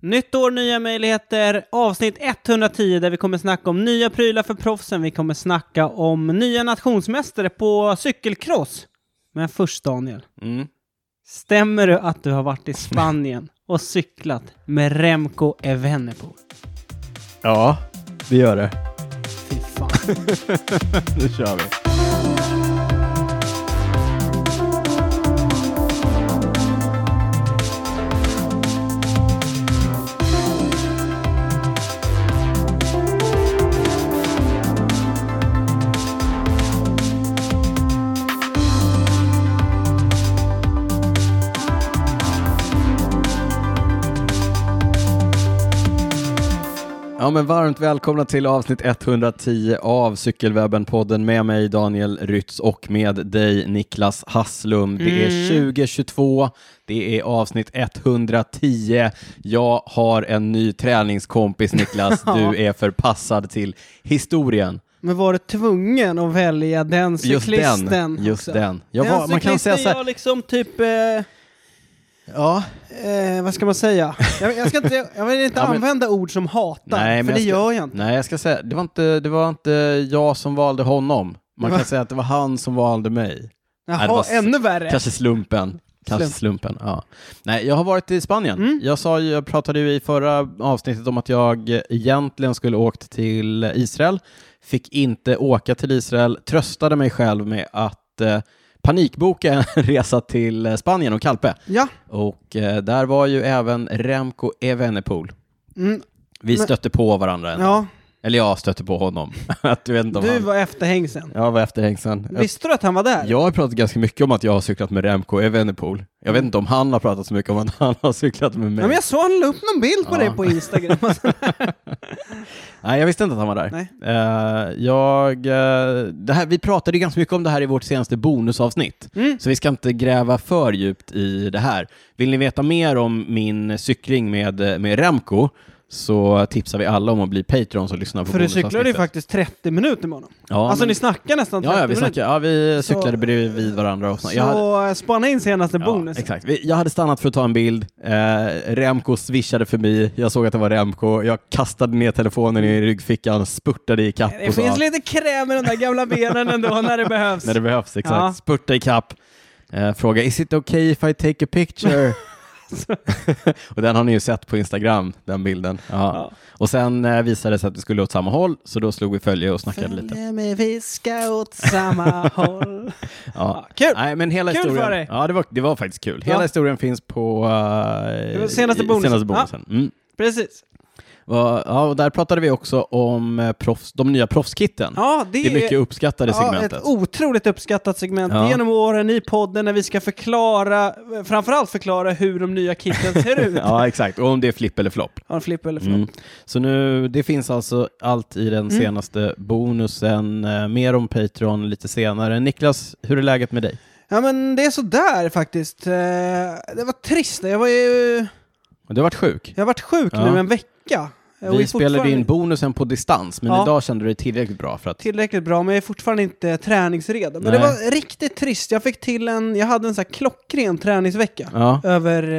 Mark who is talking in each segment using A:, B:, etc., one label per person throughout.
A: Nytt år, nya möjligheter, avsnitt 110 där vi kommer snacka om nya prylar för proffsen. Vi kommer snacka om nya nationsmästare på cykelcross. Men först Daniel,
B: Mm.
A: stämmer det att du har varit i Spanien och cyklat med Remco Evenepoel?
B: Ja, det gör det.
A: Fy fan.
B: Nu kör vi. Ja, men varmt välkomna till avsnitt 110 av Cykelwebben-podden med mig Daniel Rytz och med dig Niklas Hasslum. Det
A: Mm.
B: är 2022, det är avsnitt 110. Jag har en ny träningskompis Niklas, du är förpassad till historien.
A: Men var du tvungen att välja den
B: Just
A: cyklisten?
B: den, just
A: också?
B: den. Jag var- man kan
A: cyklisten
B: säga så här-
A: jag liksom typ... Eh,
B: Ja,
A: Eh, vad ska man säga? Jag, jag, ska inte, jag vill inte
B: Ja, men-
A: använda ord som hatar,
B: Nej,
A: för
B: men
A: det
B: jag ska-
A: gör jag inte.
B: nej jag ska säga, det var inte, det var inte jag som valde honom. Man kan säga att det var han som valde mig.
A: Jaha,
B: Nej, det var s-
A: ännu värre.
B: Kanske slumpen. Kanske
A: Slump. Mm.
B: slumpen, ja. Nej, jag har varit i Spanien. Jag, sa, ju- jag pratade ju i förra avsnittet om att jag egentligen skulle åkt till Israel. Fick inte åka till Israel. Tröstade mig själv med att eh, panikboka en resa till eh, Spanien och Calpe.
A: Ja,
B: Och eh, där var ju även Remco Evenepoel.
A: mm,
B: Vi
A: Men-
B: stötte på varandra. ändå.
A: ja.
B: Eller jag stötte på honom. att du vet inte om
A: du
B: han...
A: var efterhängsen.
B: Jag var efterhängsen. Jag
A: Visste du att han var där?
B: jag har pratat ganska mycket om att jag har cyklat med Remco Evenepoel. Jag vet inte om han har pratat så mycket om att han har cyklat med mig.
A: Nej, Mm. men jag såg han la upp någon bild på
B: Ja.
A: dig på Instagram. Alltså,
B: Nej, jag visste inte att han var där.
A: Nej.
B: Eh, jag, eh, det här, vi pratade ju ganska mycket om det här i vårt senaste bonusavsnitt,
A: Mm.
B: så vi ska inte gräva för djupt i det här. Vill ni veta mer om min cykling med, eh, med Remco så tipsar vi alla om att bli Patreon och lyssna på
A: för du
B: bonusavsnittet.
A: cyklade ju faktiskt 30 minuter med honom.
B: Ja,
A: alltså
B: men-
A: ni snackar nästan 30
B: Ja, ja, vi,
A: minuter.
B: snackade, ja,
A: Så-
B: vi cyklade bredvid varandra och
A: Så
B: sånt. Jag hade-
A: eh, spana in senaste bonusen.
B: exakt. Vi- Jag hade stannat för att ta en bild, eh, Remco swishade förbi, jag såg att det var Remco, jag kastade ner telefonen i ryggfickan, spurtade i kapp
A: Det
B: och
A: finns
B: så,
A: lite kräm i de där gamla benen ändå när det behövs.
B: när det behövs, exakt.
A: Ja.
B: Spurta i kapp. Eh, fråga “Is it okay if I take a picture?” Och den har ni ju sett på Instagram, den bilden. Ja.
A: Ja.
B: Och sen eh, visade det sig att vi skulle åt samma håll, så då slog vi följe och snackade lite.
A: Följer med fiska åt samma håll.
B: Ja.
A: Kul!
B: Nej, men hela
A: Kul för
B: historien,
A: dig.
B: Ja, det var, det var faktiskt kul. Hela
A: Ja.
B: historien finns på
A: Det
B: uh,
A: var senaste bonusen.
B: Senaste bonusen. Mm.
A: Precis.
B: Va- Ja, och där pratade vi också om eh, proffs, de nya proffskitten.
A: Ja, det,
B: det är mycket uppskattade
A: Ja,
B: segmentet.
A: ett otroligt uppskattat segment
B: Ja.
A: genom åren i podden när vi ska förklara, framförallt förklara hur de nya kitten ser ut. ja.
B: ja, exakt. Och om det är flipp eller flopp.
A: Har en flipp eller Mm. flopp.
B: Mm. Så nu, det finns alltså allt i den senaste bonusen. Eh, Mer om Patreon lite senare. Niklas, hur är läget med dig?
A: Ja men det är sådär faktiskt. Eh, Det var trist, jag var ju...
B: Du har varit sjuk.
A: Jag har varit sjuk
B: Ja.
A: nu en vecka. Eh, och är
B: Vi spelade
A: fortfarande
B: in bonusen på distans, men
A: Ja.
B: idag kände du dig tillräckligt bra för att...
A: Tillräckligt bra, men jag är fortfarande inte träningsredo. Men det
B: Nej.
A: var riktigt trist, jag fick till en... Jag hade en sån här klockren träningsvecka.
B: Ja.
A: Över, eh,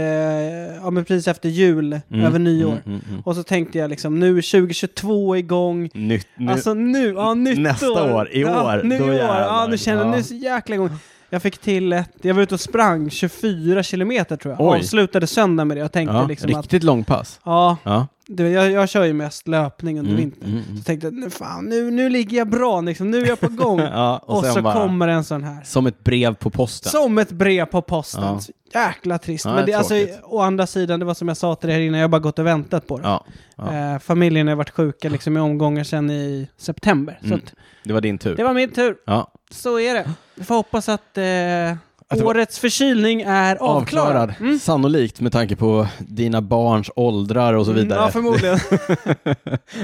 A: ja men precis efter jul,
B: Mm,
A: över nyår.
B: mm, mm, mm.
A: Och så tänkte jag liksom, nu är 2022 igång,
B: Nytt, nu,
A: Alltså nu, ja nytt
B: Nästa år, i år,
A: ja, nu
B: då
A: i år, ja
B: jävlar.
A: nu känner jag,
B: Ja.
A: nu är så jäkla igång. Jag fick till ett, jag var ute och sprang 24 kilometer tror jag,
B: Oj.
A: avslutade söndag med det och tänkte
B: ja,
A: liksom att,
B: riktigt långpass.
A: ja,
B: Ja.
A: du, vet, jag, jag kör ju mest löpning under
B: Mm,
A: vintern.
B: mm, mm.
A: Så tänkte jag, nu, fan, nu, nu ligger jag bra liksom, nu är jag på gång.
B: Ja, och
A: och
B: sen
A: så
B: bara-
A: kommer en sån här.
B: Som ett brev på posten.
A: Som ett brev på posten.
B: Ja.
A: Så jäkla trist.
B: Ja,
A: Men
B: det
A: det,
B: är
A: alltså,
B: tråkigt.
A: å andra sidan, det var som jag sa till dig här innan, jag har bara gått och väntat på det.
B: Ja, ja.
A: Eh, familjen har varit sjuka liksom, i omgångar sedan i september.
B: Mm.
A: Så att,
B: Det var din tur.
A: det var min tur.
B: Ja.
A: Så är det. Vi får hoppas att, eh,
B: det var-
A: årets förkylning är avklarad. Mm.
B: Sannolikt med tanke på dina barns åldrar och så
A: Mm,
B: vidare.
A: Ja, förmodligen.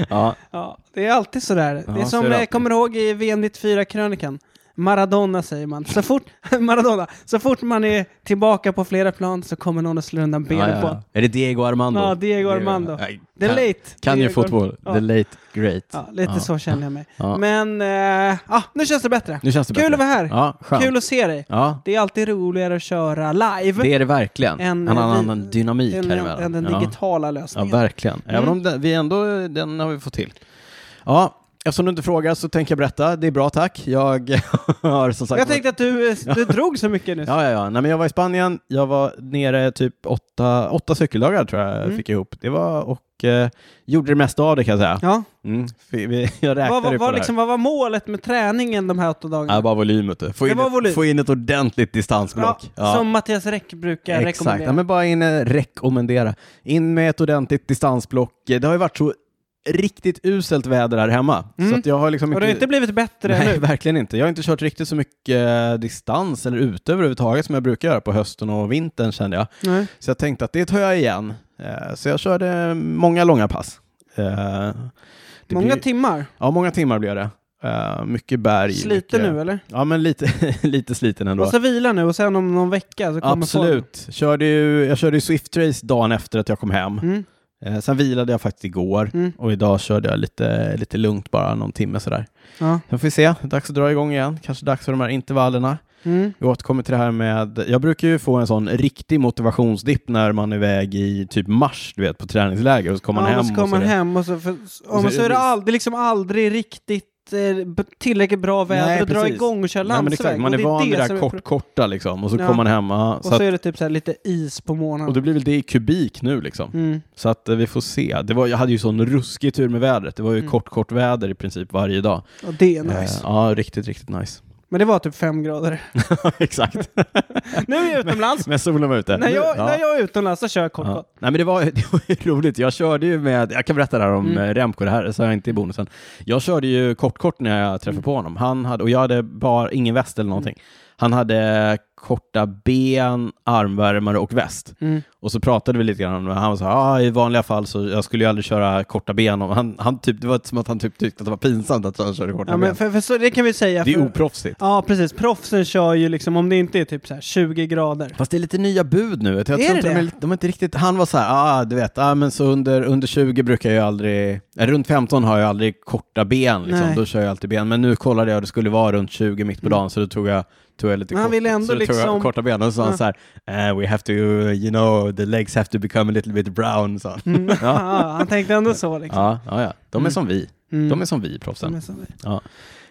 B: ja.
A: ja, det är alltid sådär.
B: Ja,
A: det är
B: så är
A: som eh,
B: det
A: jag
B: alltid.
A: kommer ihåg i VM94-krönikan. Maradona säger man. Så fort, Maradona, så fort man är tillbaka på flera plan så kommer någon och slår undan benen
B: Ja, ja,
A: på
B: ja. Är det Diego Armando?
A: Ja, Diego Armando.
B: Nej,
A: The
B: kan,
A: late.
B: kan ju
A: Diego.
B: fotboll.
A: Ja.
B: The late great.
A: Ja, lite
B: Ja.
A: så känner jag mig.
B: Ja.
A: Men eh, ja, nu känns det bättre.
B: Nu känns det
A: Kul
B: bättre.
A: att vara här.
B: Ja, skönt.
A: Kul att se dig.
B: Ja,
A: Det är alltid roligare att köra live
B: det är det verkligen.
A: En-
B: En, en
A: vi-
B: annan dynamik
A: än,
B: här emellan.
A: än den
B: ja.
A: digitala
B: ja,
A: lösningen.
B: verkligen. Även om den, vi ändå, den har vi fått till. Ja, eftersom du inte frågar så tänker jag berätta. Det är bra tack. Jag har som sagt
A: jag tänkte att du, eh, du drog så mycket nyss.
B: Ja, ja, ja. Nej, men jag var i Spanien, jag var nere typ åtta, åtta cykeldagar tror jag
A: Mm.
B: fick ihop. Det var och eh, gjorde det mesta av det kan jag säga.
A: Ja.
B: Mm. F- vi- Jag
A: Vad,
B: räknade ju
A: vad,
B: på
A: vad,
B: det här.
A: liksom, vad var målet med träningen de här åtta dagarna?
B: Ja, bara volym. vet du. Få
A: Det
B: in,
A: var
B: ett-
A: volym.
B: få in ett ordentligt distansblock.
A: Ja,
B: Ja.
A: Som Mattias Räck brukar
B: Exakt,
A: rekommendera.
B: ja, men bara in, eh, rekommendera. In med ett ordentligt distansblock. Eh, Det har ju varit så riktigt uselt väder här hemma.
A: Mm.
B: Så att jag har liksom
A: Och det har inte blivit bättre
B: Nej,
A: nu.
B: verkligen inte. Jag har inte kört riktigt så mycket eh, distans eller ute överhuvudtaget som jag brukar göra på hösten och vintern kände jag.
A: Nej.
B: Så jag tänkte att det tar jag igen. Eh, Så jag körde många långa pass. Eh, det
A: Många
B: blir,
A: timmar.
B: ja, många timmar blev det. Eh, Mycket berg.
A: Sliten
B: mycket,
A: nu eller?
B: Ja, men lite, lite sliten ändå.
A: Och så vila nu och sen om någon vecka så kommer
B: Absolut. Körde ju, jag körde ju Swift Race dagen efter att jag kom hem.
A: formen. Mm.
B: Eh, Sen vilade jag faktiskt igår
A: Mm.
B: och idag körde jag lite, lite lugnt bara, någon timme sådär.
A: Ja.
B: Sen får vi se, dags att dra igång igen. Kanske dags för de här intervallerna.
A: Mm.
B: Vi återkommer till det här med, jag brukar ju få en sån riktig motivationsdipp när man är iväg i typ mars, du vet, på träningsläger och så kommer
A: ja,
B: man hem.
A: och så kommer
B: och så
A: man
B: är det-
A: hem och så, för, och
B: Och så
A: så,
B: är
A: är
B: det-
A: det, aldrig, liksom aldrig riktigt eh, b- tillräckligt bra väder
B: Nej,
A: att dra
B: precis.
A: igång och köra
B: Nej, men
A: landsväg.
B: exakt, man
A: och
B: är van vid det
A: som
B: där
A: är pro-
B: kort, korta liksom och så
A: Ja.
B: kommer man hem. aha,
A: Och
B: så
A: så
B: att,
A: är det typ så här lite is på
B: och
A: morgonen.
B: det blir väl det i kubik nu liksom.
A: Mm.
B: Så att eh, vi får se. Det var, jag hade ju sån ruskig tur med vädret. Det var ju
A: Mm.
B: kort, kort väder i princip varje dag.
A: Och det är nice.
B: Eh, ja, riktigt, riktigt nice.
A: Men det var typ fem grader.
B: Exakt.
A: nu är jag utomlands.
B: Men solen var ute.
A: när, jag,
B: Ja.
A: när jag är utomlands så kör jag kort,
B: Ja.
A: kort.
B: Nej men det var, det var ju roligt. Jag körde ju med, jag kan berätta det här om
A: Mm.
B: mm. Remco, det här sa jag inte i bonusen. Jag körde ju kort-kort när jag träffade
A: Mm.
B: på honom. Han hade, och jag hade bara ingen väst eller någonting. Han hade korta ben, armvärmare och väst.
A: Mm.
B: Och så pratade vi lite grann om det. Han var så här, ah, i vanliga fall så jag skulle ju aldrig köra korta ben. Och han, han typ, det var som att han typ tyckte att det var pinsamt att han körde korta
A: Ja,
B: ben.
A: men för, för så, det kan vi säga.
B: Det är
A: för-
B: oproffsigt.
A: Ja, precis. Proffsen kör ju liksom, om det inte är typ så här 20 grader.
B: Fast det är lite nya bud nu. Jag tror
A: Är det det?
B: inte De, är, lite- de är inte riktigt... Han var så här, ah, du vet, ah, men så under, under 20 brukar jag ju aldrig... eh, Runt 15 har jag aldrig korta ben, liksom.
A: Nej. Mm.
B: då kör jag alltid ben. Men nu kollade jag och det skulle vara runt 20 mitt på dagen, så då tog jag, tog jag lite
A: Men han ville ändå
B: så då tog
A: liksom-
B: jag korta ben. Och så sa
A: Ja.
B: han så här, eh, we have to, you know, the legs have to become a little bit brown, sa han.
A: Mm. Ja. han tänkte ändå så liksom.
B: Ja, ja, ja. De är
A: Mm.
B: som vi.
A: Mm.
B: De är som vi, proffsen.
A: De är som vi.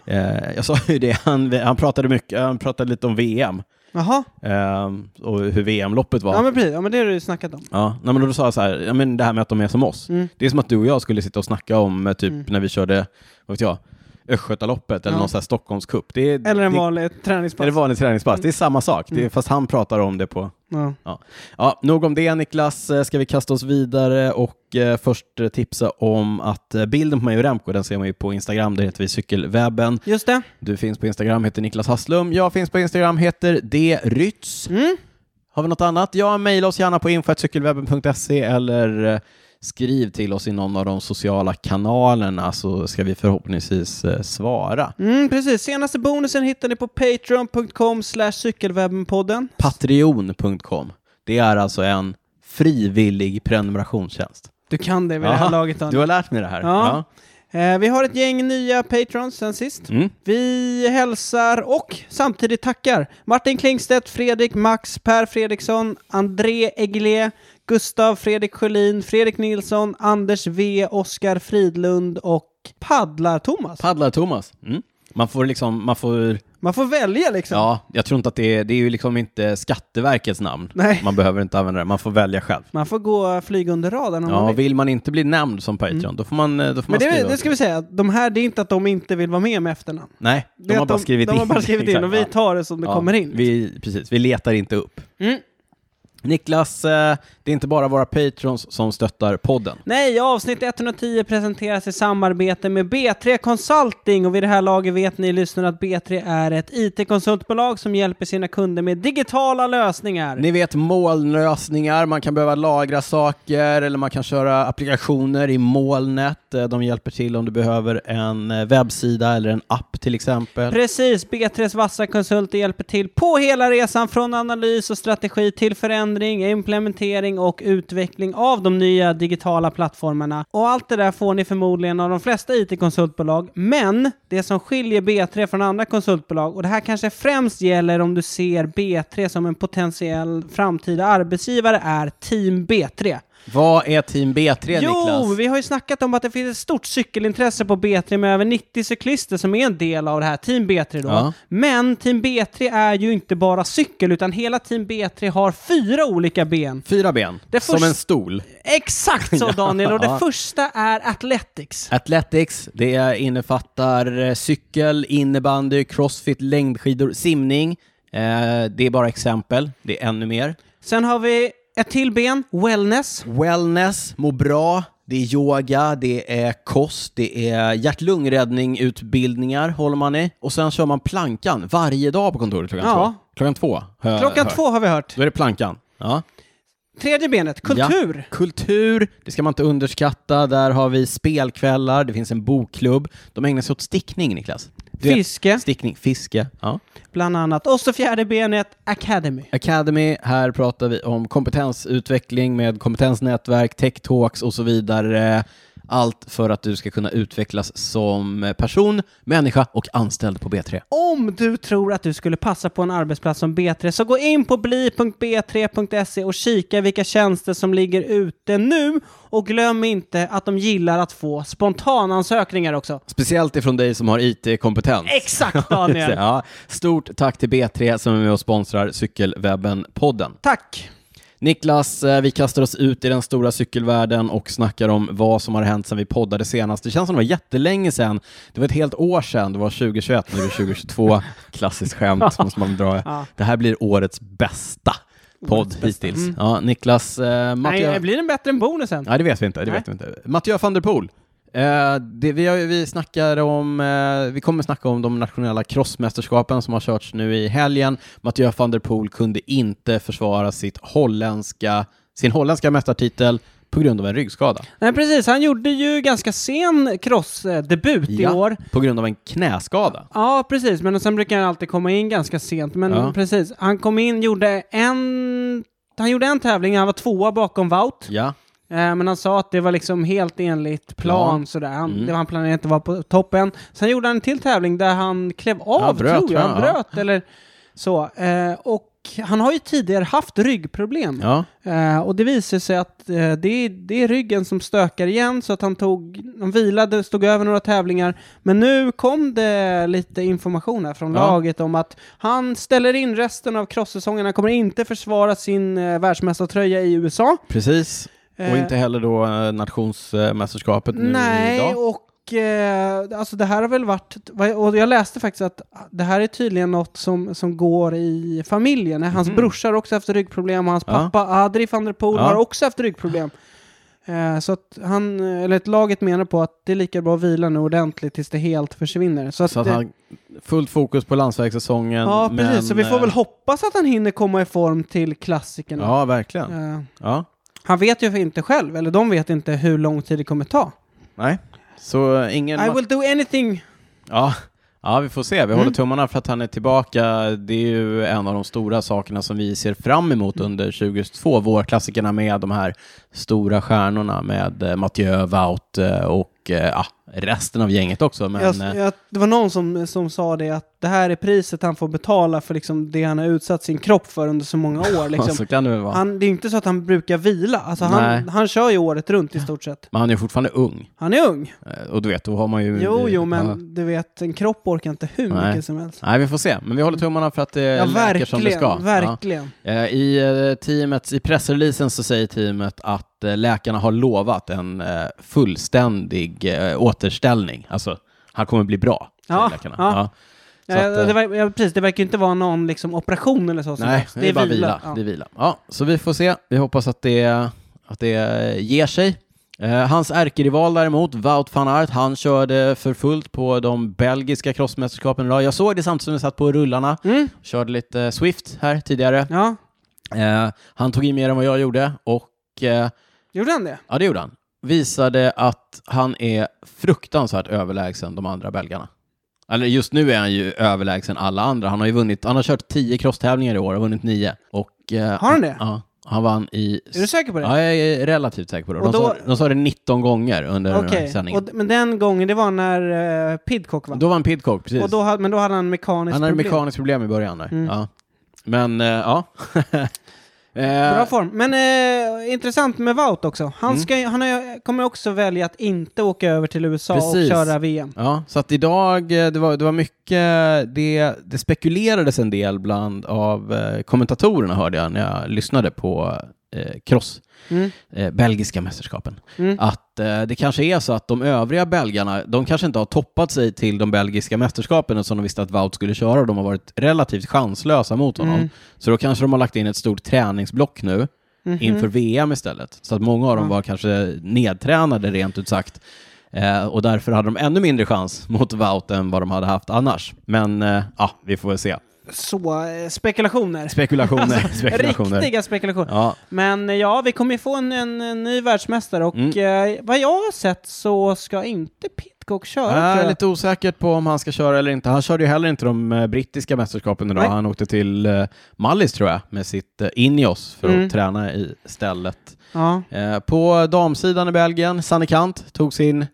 B: Eh, jag sa ju det, han, han pratade mycket, han pratade lite om VM.
A: Jaha,
B: eh, och hur VM-loppet var.
A: ja men precis. Ja men det har du ju snackat om.
B: Ja, nej, men då sa jag så här, ja, men det här med att de är som oss.
A: Mm.
B: Det är som att du och jag skulle sitta och snacka om eh, typ
A: Mm.
B: när vi körde, vad vet jag, Östgötaloppet eller
A: Ja.
B: någon sån här Stockholmscup. Det är,
A: Eller en
B: det,
A: vanlig träningspass.
B: Eller vanlig träningspass.
A: Mm.
B: Det är samma sak, det
A: Mm.
B: är, fast han pratar om det på...
A: ja.
B: Ja, nog om det Niklas, Eh, ska vi kasta oss vidare och eh, först eh, tipsa om att eh, bilden på mig och Remco, den ser man ju på Instagram, där heter vi Cykelwebben.
A: Just det.
B: Du finns på Instagram, heter Niklas Hasslum. Jag finns på Instagram, heter drytz.
A: Mm.
B: Har vi något annat? Ja, mejla oss gärna på info.cykelwebben.se eller eh, skriv till oss i någon av de sociala kanalerna så ska vi förhoppningsvis eh, svara.
A: Mm, precis. Senaste bonusen hittar ni på patreon.com slash cykelwebbenpodden.
B: Patreon.com. Det är alltså en frivillig prenumerationstjänst.
A: Du kan det vid det här
B: Aha,
A: laget Daniel.
B: Du har lärt mig det här.
A: Ja. Eh, vi har ett gäng nya patrons sen sist.
B: Ja. Mm.
A: Vi hälsar och samtidigt tackar Martin Klingstedt, Fredrik Max, Per Fredriksson, André Egle, Gustav Fredrik Sjölin, Fredrik Nilsson, Anders V, Oskar Fridlund och Paddlar-Thomas.
B: Paddlar Thomas. Mm. Man får liksom, man får,
A: Man får välja liksom.
B: ja, jag tror inte att det är, det är ju liksom inte Skatteverkets namn.
A: Nej.
B: Man behöver inte använda det, man får välja själv.
A: Man får gå flyga under radarn om man
B: Ja,
A: vill.
B: vill man inte bli nämnd som Patreon, då får man, eh, då får
A: Mm. Men
B: man
A: det,
B: skriva.
A: det ska vi säga, de här, det är inte att de inte vill vara med med efternamn.
B: Nej,
A: Det
B: de
A: är
B: har
A: att
B: bara skrivit in.
A: De har bara skrivit in
B: Exakt,
A: och vi
B: ja.
A: tar det som det
B: Ja,
A: kommer in.
B: Vi, precis, vi letar inte upp.
A: Mm.
B: Niklas, eh, det är inte bara våra patrons som stöttar podden.
A: Nej, avsnitt 110 presenteras i samarbete med B3 Consulting och vid det här laget vet ni lyssnare att B3 är ett IT-konsultbolag som hjälper sina kunder med digitala lösningar.
B: Ni vet molnlösningar, man kan behöva lagra saker eller man kan köra applikationer i molnet. eh, de hjälper till om du behöver en eh, webbsida eller en app till exempel.
A: Precis, B3s vassa konsulter hjälper till på hela resan från analys och strategi till förändring, implementering och utveckling av de nya digitala plattformarna. Och allt det där får ni förmodligen av de flesta IT-konsultbolag. Men det som skiljer B3 från andra konsultbolag, och det här kanske främst gäller om du ser B3 som en potentiell framtida arbetsgivare, är Team B3.
B: Vad är Team B3
A: Jo,
B: Niklas?
A: vi har ju snackat om att det finns ett stort cykelintresse på B3 med över 90 cyklister som är en del av det här Team B3 då.
B: Ja.
A: Men Team B3 är ju inte bara cykel, utan hela Team B3 har fyra olika ben.
B: Fyra ben,
A: Det
B: som
A: först-
B: en stol.
A: Exakt så Daniel, och det
B: Ja.
A: första är Athletics.
B: Athletics, det innefattar eh, cykel, innebandy, crossfit, längdskidor, simning. Eh, det är bara exempel, det är ännu mer.
A: Sen har vi ett till ben, Wellness.
B: Wellness, må bra, det är yoga, det är kost, det är hjärt-lungräddning-utbildningar håller man i. Och sen kör man plankan varje dag på kontoret klockan
A: Ja.
B: två. Klockan två. hör-
A: Klockan
B: hör.
A: två har vi hört.
B: Då är det plankan. Ja.
A: Tredje benet, kultur.
B: Ja. Kultur, det ska man inte underskatta. Där har vi spelkvällar, det finns en bokklubb. De ägnar sig åt stickning, Niklas. Du vet,
A: Fiske,
B: Stickning, fiske. Ja.
A: bland annat. Och så fjärde benet, Academy.
B: Academy, här pratar vi om kompetensutveckling med kompetensnätverk, tech talks och så vidare. Allt för att du ska kunna utvecklas som person, människa och anställd på B3.
A: Om du tror att du skulle passa på en arbetsplats som B3 så gå in på bli.b3.se och kika vilka tjänster som ligger ute nu och glöm inte att de gillar att få spontanansökningar också.
B: Speciellt ifrån dig som har IT-kompetens.
A: Exakt Daniel!
B: Ja. Stort tack till B3 som är med och sponsrar Cykelwebben-podden.
A: Tack!
B: Niklas, eh, vi kastar oss ut i den stora cykelvärlden och snackar om vad som har hänt sedan vi poddade senast. Det känns som det var jättelänge sedan. Det var ett helt år sedan. Det var 2021, nu är det 2022. Klassiskt skämt måste man dra.
A: Ja.
B: Det här blir årets bästa podd hittills. Ja, Niklas, eh, Mattia...
A: Mm. Nej, blir den bättre än bonusen?
B: Nej, det vet vi inte. Det vet vi inte. Mattia van der Poel. Eh, det, vi, har, ju- vi, snackar om, eh, vi kommer snacka om de nationella crossmästerskapen som har körts nu i helgen. Mathieu van der Poel kunde inte försvara sitt holländska, sin holländska mästartitel på grund av en ryggskada.
A: Nej precis, han gjorde ju ganska sen crossdebut i år.
B: På grund av en knäskada.
A: Ja, precis. Men sen brukar han alltid komma in ganska sent. Men
B: Ja.
A: precis, han kom in, gjorde en... Han gjorde en tävling, han var tvåa bakom Wout.
B: Ja.
A: Eh, Men han sa att det var liksom helt enligt plan
B: Plan.
A: sådär. Han,
B: Mm.
A: det var han planerade inte vara på toppen. Sen gjorde han en till tävling där han klev av,
B: Han bröt,
A: tror jag. Han
B: va? Ja.
A: bröt eller så. Eh, och han har ju tidigare haft ryggproblem.
B: ja.
A: Eh, och det visade sig att eh, det, är, det är ryggen som stökar igen så att han tog, han vilade, stod över några tävlingar. Men nu kom det lite information här från
B: Ja.
A: laget om att han ställer in resten av cross-säsongen. Han kommer inte försvara sin eh, världsmästartröja i USA.
B: Precis. Och
A: Eh.
B: inte heller då eh, nationsmästerskapet nu
A: Nej,
B: idag.
A: och eh, alltså det här har väl varit, och jag läste faktiskt att det här är tydligen något som, som går i familjen. Hans brorsa har också haft ryggproblem och hans
B: Mhm. Ja.
A: pappa Adri van der Poel
B: Ja.
A: har också haft ryggproblem. Eh, så att han, eller ett laget menar på att det är lika bra att vila nu ordentligt tills det helt försvinner. Så att,
B: Så att
A: det,
B: han, fullt fokus på landsvägssäsongen.
A: ja, precis.
B: men,
A: så vi får väl
B: eh,
A: hoppas att han hinner komma i form till klassikerna.
B: Ja, verkligen.
A: Eh,
B: Ja,
A: han vet ju inte själv, eller de vet inte hur lång tid det kommer ta.
B: nej. Så eh, ingen...
A: I
B: ma-
A: will Mm. do anything
B: Ja. ja, vi får se. Vi håller tummarna för att han är tillbaka. Det är ju en av de stora sakerna som vi ser fram emot
A: Mm.
B: under 2022. Vårklassikerna med de här stora stjärnorna med eh, Mathieu, Wout eh, och eh, ja, resten av gänget också. Men, eh,
A: jag, jag, det var någon som, som sa det att det här är priset han får betala för liksom det han har utsatt sin kropp för under så många år. Liksom.
B: så kan det väl vara.
A: han, det är inte så att han brukar vila. Alltså, han,
B: Alltså, Nej.
A: han kör ju året runt i stort sett.
B: Men han är ju fortfarande ung.
A: Han är ung.
B: Eh, Och du vet, då har man ju...
A: Jo, jo, men
B: Ja.
A: du vet, en kropp orkar inte hur
B: Nej.
A: mycket som helst.
B: Nej, vi får se. Men vi håller tummarna för att det
A: Ja,
B: läker som det
A: verkligen.
B: ska. Ja.
A: verkligen.
B: Eh, I, eh, teamets, I pressreleasen så säger teamet att eh, läkarna har lovat en eh, fullständig eh, återställning. Alltså, han kommer bli bra, säger
A: Ja,
B: läkarna.
A: ja.
B: Så
A: Ja,
B: att, eh,
A: det, ver- ja, precis, det verkar ju inte vara någon liksom, operation eller så. som
B: Nej,
A: helst.
B: det är bara vila.
A: Ja.
B: Det är vila. Ja, så vi får se. Vi hoppas att det, att det ger sig. Eh, hans ärkerival däremot, Wout van Aert, han körde för fullt på de belgiska crossmästerskapen idag. Jag såg det samtidigt som jag satt på rullarna.
A: Mm.
B: Körde lite eh, Swift här tidigare.
A: ja,
B: Eh, han tog in mer än vad jag gjorde och eh,
A: gjorde han det?
B: Ja, det gjorde han. visade att han är fruktansvärt överlägsen de andra belgarna. Eller just nu är han ju överlägsen alla andra. Han har ju vunnit, han har kört 10 crosstävlingar i år och vunnit 9. Och, eh,
A: Har han det?
B: Ja, han vann i...
A: Är du säker på det?
B: Ja, jag är relativt säker på det.
A: Och
B: De,
A: då-
B: sa, de sa det 19 gånger under den här
A: Okej,
B: sändningen.
A: och d- men den gången det var när uh, Pidcock vann.
B: Då vann Pidcock, precis.
A: och då, hade- men då hade han mekaniskt
B: han hade
A: problem. Mm.
B: mekaniskt problem i början där. Ja. Men, eh, ja. Eh,
A: Bra form. Men eh, intressant med Wout också.
B: Mm.
A: Han, ska, ju- han har, ju- kommer också välja att inte åka över till USA
B: Precis.
A: och köra VM.
B: Ja, så att idag, eh, det var, det var mycket, det, det spekulerades en del bland av eh, kommentatorerna hörde jag när jag lyssnade på eh, cross,
A: Mm.
B: eh, belgiska mästerskapen.
A: Mm.
B: Att eh, det kanske är så att de övriga belgarna, de kanske inte har toppat sig till de belgiska mästerskapen som de visste att Wout skulle köra och de har varit relativt chanslösa mot honom.
A: Mm.
B: Så då kanske de har lagt in ett stort träningsblock nu
A: Mhm.
B: inför VM istället. Så att många av dem
A: Ja.
B: var kanske nedtränade rent ut sagt. Eh, och därför hade de ännu mindre chans mot Wout än vad de hade haft annars. Men eh, ja, vi får väl se.
A: Så, eh, spekulationer.
B: Spekulationer. spekulationer.
A: Alltså, Riktiga spekulationer.
B: Ja,
A: Men eh, ja, vi kommer ju få en, en, en ny världsmästare och
B: Mm.
A: eh, vad jag har sett så ska inte Pitcock köra.
B: jag
A: tror
B: är
A: jag.
B: Ah, lite osäkert på om han ska köra eller inte. Han körde ju heller inte de eh, brittiska mästerskapen idag.
A: Nej.
B: Han åkte till eh, Mallis tror jag med sitt eh, Ineos för
A: Mm.
B: att träna i stället.
A: Ja.
B: Eh, på damsidan i Belgien, Sanne Kant tog sin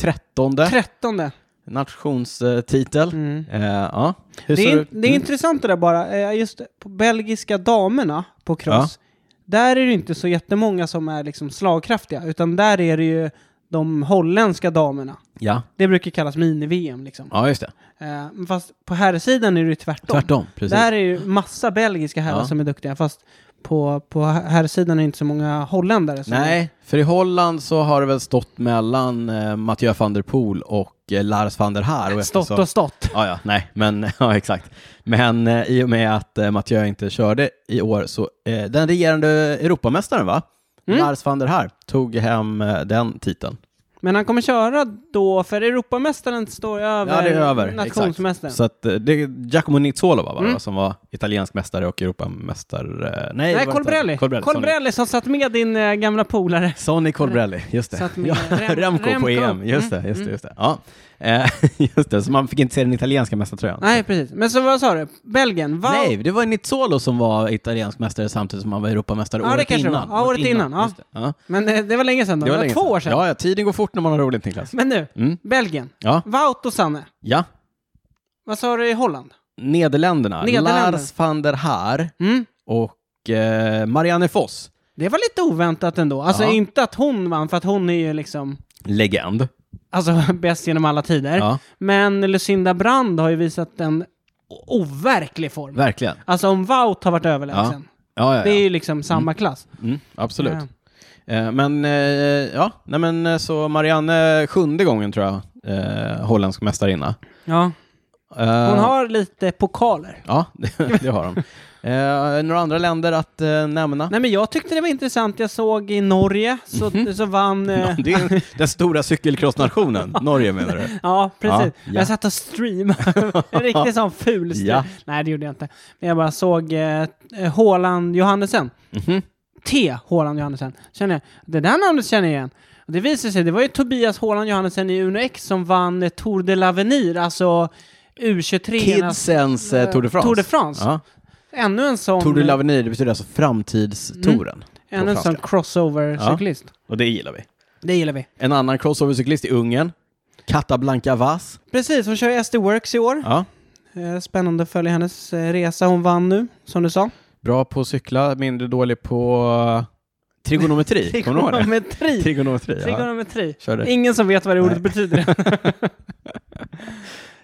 B: trettonde
A: Trettonde.
B: nationstitel.
A: Mm.
B: Eh, ja. Hur
A: Det
B: ser Mm.
A: är,
B: du-
A: det är intressant det där bara, eh, just på belgiska damerna på cross, där är det inte så jättemånga som är liksom slagkraftiga, utan där är det ju de holländska damerna.
B: Ja.
A: Det brukar kallas mini-VM liksom.
B: ja, just det.
A: Eh, men fast på herrsidan är det ju tvärtom.
B: Tvärtom. Precis.
A: Där är ju massa belgiska herrar
B: Ja.
A: som är duktiga, fast på, på herrsidan är det inte så många holländare. Som
B: Nej, för i Holland så har det väl stått mellan eh, Mathieu van der Poel och eh, Lars van der Haar.
A: Är
B: Och
A: stått
B: eftersom-
A: och stått.
B: Ja, ja, nej, men ja, exakt. Men eh, i och med att eh, Mathieu inte körde i år så eh, den regerande Europamästaren, va?
A: Mm.
B: Lars van der Haar tog hem eh, den titeln.
A: Men han kommer köra då, för Europamästaren står ju över,
B: ja, det är över.
A: nationsmästaren.
B: Exakt. Så att eh, det är Giacomo Nizzolo va, va,
A: Mm.
B: som var italiensk mästare och Europamästare. eh, Nej,
A: Nej,
B: det var inte-
A: Colbrelli. Colbrelli,
B: Colbrelli. sorry.
A: som satt med din eh, gamla polare.
B: Sonny Colbrelli, just det.
A: Satt med
B: ja,
A: Rem-
B: Remco,
A: Remco. E
B: på EM, just det.
A: mm.
B: Just det, just det. Ja. Eh, just det. Så man fick inte se den italienska mästartröjan.
A: Nej, precis. Men så vad sa du? Belgien? Val-
B: Nej, det var Nizzolo som var italiensk mästare samtidigt som han var Europamästare
A: Ja, det
B: året
A: kanske det var.
B: innan.
A: Ja, året innan, ja.
B: Just det. ja.
A: Men eh, det var länge sedan då. Det var,
B: länge
A: två
B: sedan.
A: år sedan.
B: Ja, ja, tiden går fort när man har roligt Niklas.
A: Men nu,
B: Mm.
A: Belgien.
B: Ja,
A: Wout och Sanne.
B: ja.
A: Vad sa du i Holland?
B: Nederländerna.
A: Nederländerna.
B: Lars van der Haar
A: Mm.
B: och eh, Marianne Voss,
A: Det var lite oväntat ändå. Alltså
B: Ja.
A: inte att hon vann, för att hon är ju liksom
B: legend.
A: alltså, bäst genom alla tider.
B: Ja,
A: Men Lucinda Brand har ju visat en o- overklig form.
B: verkligen.
A: Alltså om Wout har varit
B: Ja.
A: överlägsen.
B: Ja, ja,
A: Det är
B: ja.
A: ju liksom samma klass.
B: Mm, absolut.
A: Ja.
B: Eh, Men eh, ja, nej men eh, så Marianne, eh, sjunde gången tror jag, eh, holländsk mästarinna.
A: Ja.
B: Eh,
A: Hon har lite pokaler.
B: Ja, det, det har hon. Eh, några andra länder att eh, nämna?
A: Nej men jag tyckte det var intressant, jag såg i Norge så,
B: Mhm.
A: så vann... Eh,
B: Det är den stora cykelcrossnationen, Norge menar du?
A: ja, precis.
B: Ja, ja.
A: Jag satt och streamade, en riktig sån ful stream.
B: Ja.
A: Nej det gjorde jag inte. Men jag bara såg eh, Håland Johannesen,
B: Mhm.
A: T Håland Johannesen. Känner jag, det där namnet känner jag igen. Och det visade sig, det var ju Tobias Håland Johannesen i Uno X som vann eh, Tour de l'Avenir, alltså U23.
B: Kidsens eh, Tour de France.
A: Tour de France.
B: Ja.
A: Ännu en sån,
B: Tour de l'Avenir, det betyder alltså framtidstouren.
A: Mm. ännu en sån crossover-cyklist.
B: Och det gillar vi.
A: Det gillar vi.
B: En annan crossover-cyklist i Ungern, Katablanka Vas.
A: Precis, hon kör SD Works i år.
B: Ja.
A: Eh, Spännande att följa hennes eh, resa. Hon vann nu, som du sa.
B: Bra på att cykla, mindre dålig på eh, trigonometri. Kommer du ihåg det?
A: Trigonometri.
B: Trigonometri, ja.
A: Trigonometri.
B: Kör det.
A: Ingen som vet vad det
B: Nej.
A: ordet betyder.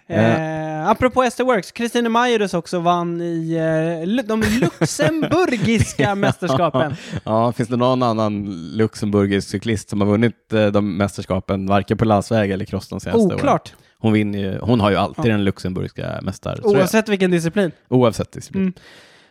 A: eh, apropå SD Works, Kristine Majorus också vann i eh, Lu- de luxemburgiska mästerskapen.
B: Ja, finns det någon annan luxemburgisk cyklist som har vunnit eh, de mästerskapen, varken på landsväg eller cross de senaste åren?
A: Oklart,
B: Hon, vinner ju, hon har ju alltid
A: Ja.
B: den luxemburgiska mästartröjan.
A: oavsett vilken disciplin.
B: Oavsett disciplin.
A: Mm.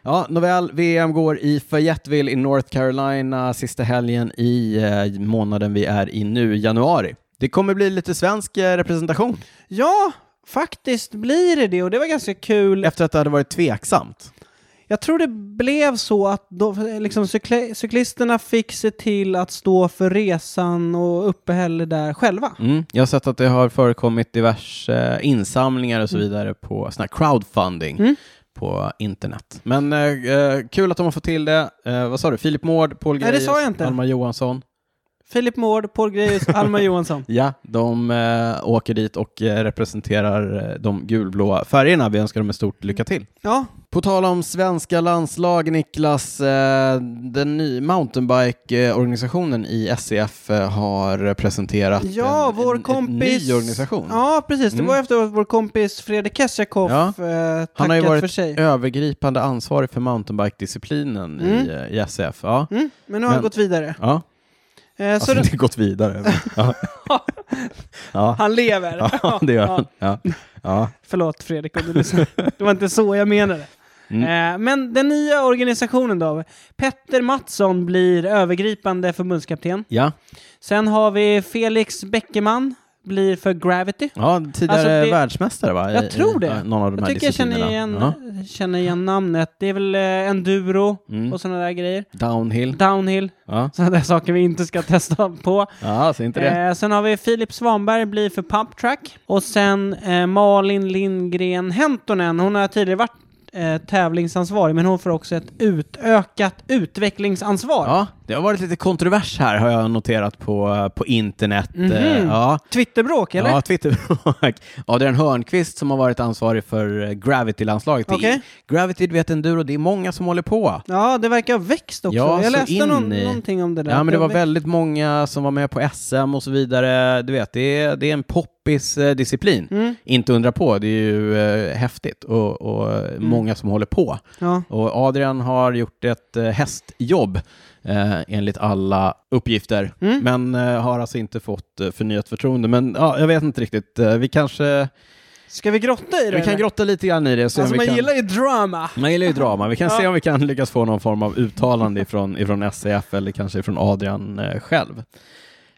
B: Ja, nåväl, VM går i Fayetteville i North Carolina sista helgen i eh, månaden vi är i nu, januari. Det kommer bli lite svensk eh, representation
A: Ja, faktiskt blir det det och det var ganska kul.
B: efter att det hade varit tveksamt.
A: Jag tror det blev så att de, liksom, cykli- cyklisterna fick se till att stå för resan och uppehälle där själva.
B: Mm. Jag har sett att det har förekommit diverse insamlingar och så vidare på sån här crowdfunding
A: Mm.
B: på internet. Men eh, eh, kul att de har fått till det. Eh, vad sa du? Filip Mård, Paul
A: Nej, det sa jag
B: Grejers,
A: inte.
B: Alma Johansson.
A: Filip Mård, Paul Grejus, Alma Johansson.
B: Ja, de eh, åker dit och eh, representerar eh, de gulblåa färgerna. Vi önskar dem ett stort lycka till.
A: Ja,
B: På tal om svenska landslag, Niklas, eh, den nya mountainbike-organisationen i SCF eh, har presenterat
A: ja
B: en,
A: vår
B: en,
A: kompis...
B: en ny organisation.
A: Ja, precis. Det
B: Mm.
A: var efter att vår kompis Fredrik Kesjakov
B: Ja.
A: eh,
B: Han har ju
A: tackat
B: varit
A: för sig.
B: övergripande ansvarig för mountainbike-disciplinen i, eh, i SCF. Ja.
A: Mm, men nu har han
B: Men-
A: gått vidare.
B: Ja,
A: Eh, så
B: alltså, det
A: det,
B: har gått vidare. men- Ja. Ja.
A: han lever.
B: ja, det gör han. Ja. Ja.
A: Förlåt Fredrik om du lyssnar. Det var inte så jag menade.
B: Mm.
A: Eh, Men den nya organisationen då? Petter Mattsson blir övergripande förbundskapten.
B: Ja.
A: Sen har vi Felix Bäckeman, blir för Gravity.
B: ja, tidigare
A: Alltså, det-
B: världsmästare va? I-
A: Jag tror det.
B: I, någon av de
A: Jag
B: här
A: tycker jag känner
B: disciplinerna.
A: igen,
B: Ja.
A: känner igen namnet. Det är väl eh, enduro
B: Mm.
A: och sådana där grejer.
B: Downhill.
A: Downhill,
B: Ja,
A: sådana där saker vi inte ska testa på.
B: ja så inte det.
A: Eh, sen har vi Filip Svanberg, blir för Pump Track. Och sen eh, Malin Lindgren Hentonen, hon har tidigare varit eh, tävlingsansvarig, men hon får också ett utökat utvecklingsansvar.
B: Ja, det har varit lite kontrovers här har jag noterat på, på internet.
A: Mhm.
B: Eh, Ja.
A: Twitterbråk, eller?
B: Ja, Twitter. Adrian Hörnqvist som har varit ansvarig för eh, Gravity-landslaget. Det är-
A: Okej.
B: Gravity, du vet enduro, det är många som håller på.
A: Ja, det verkar ha växt också.
B: Ja,
A: jag
B: så
A: läste
B: in
A: någon,
B: i-
A: någonting om det där.
B: Ja, men det var
A: växt-
B: väldigt många som var med på SM och så vidare. Du vet, det är, det är en poppis eh, disciplin.
A: Mm.
B: Inte undra på, det är ju eh, häftigt och, och eh,
A: Mm.
B: många som håller på.
A: Ja.
B: Och Adrian har gjort ett eh, hästjobb eh, enligt alla uppgifter,
A: Mm.
B: men eh, har alltså inte fått eh, förnyat förtroende. Men ja, jag vet inte riktigt, eh, vi kanske
A: Ska vi grotta i det?
B: vi kan
A: eller?
B: grotta lite grann i det. och se om
A: alltså,
B: vi
A: man
B: kan...
A: gillar ju drama.
B: Man gillar ju drama. Vi kan
A: Ja.
B: se om vi kan lyckas få någon form av uttalande ifrån, ifrån SCF eller kanske ifrån Adrian eh, själv.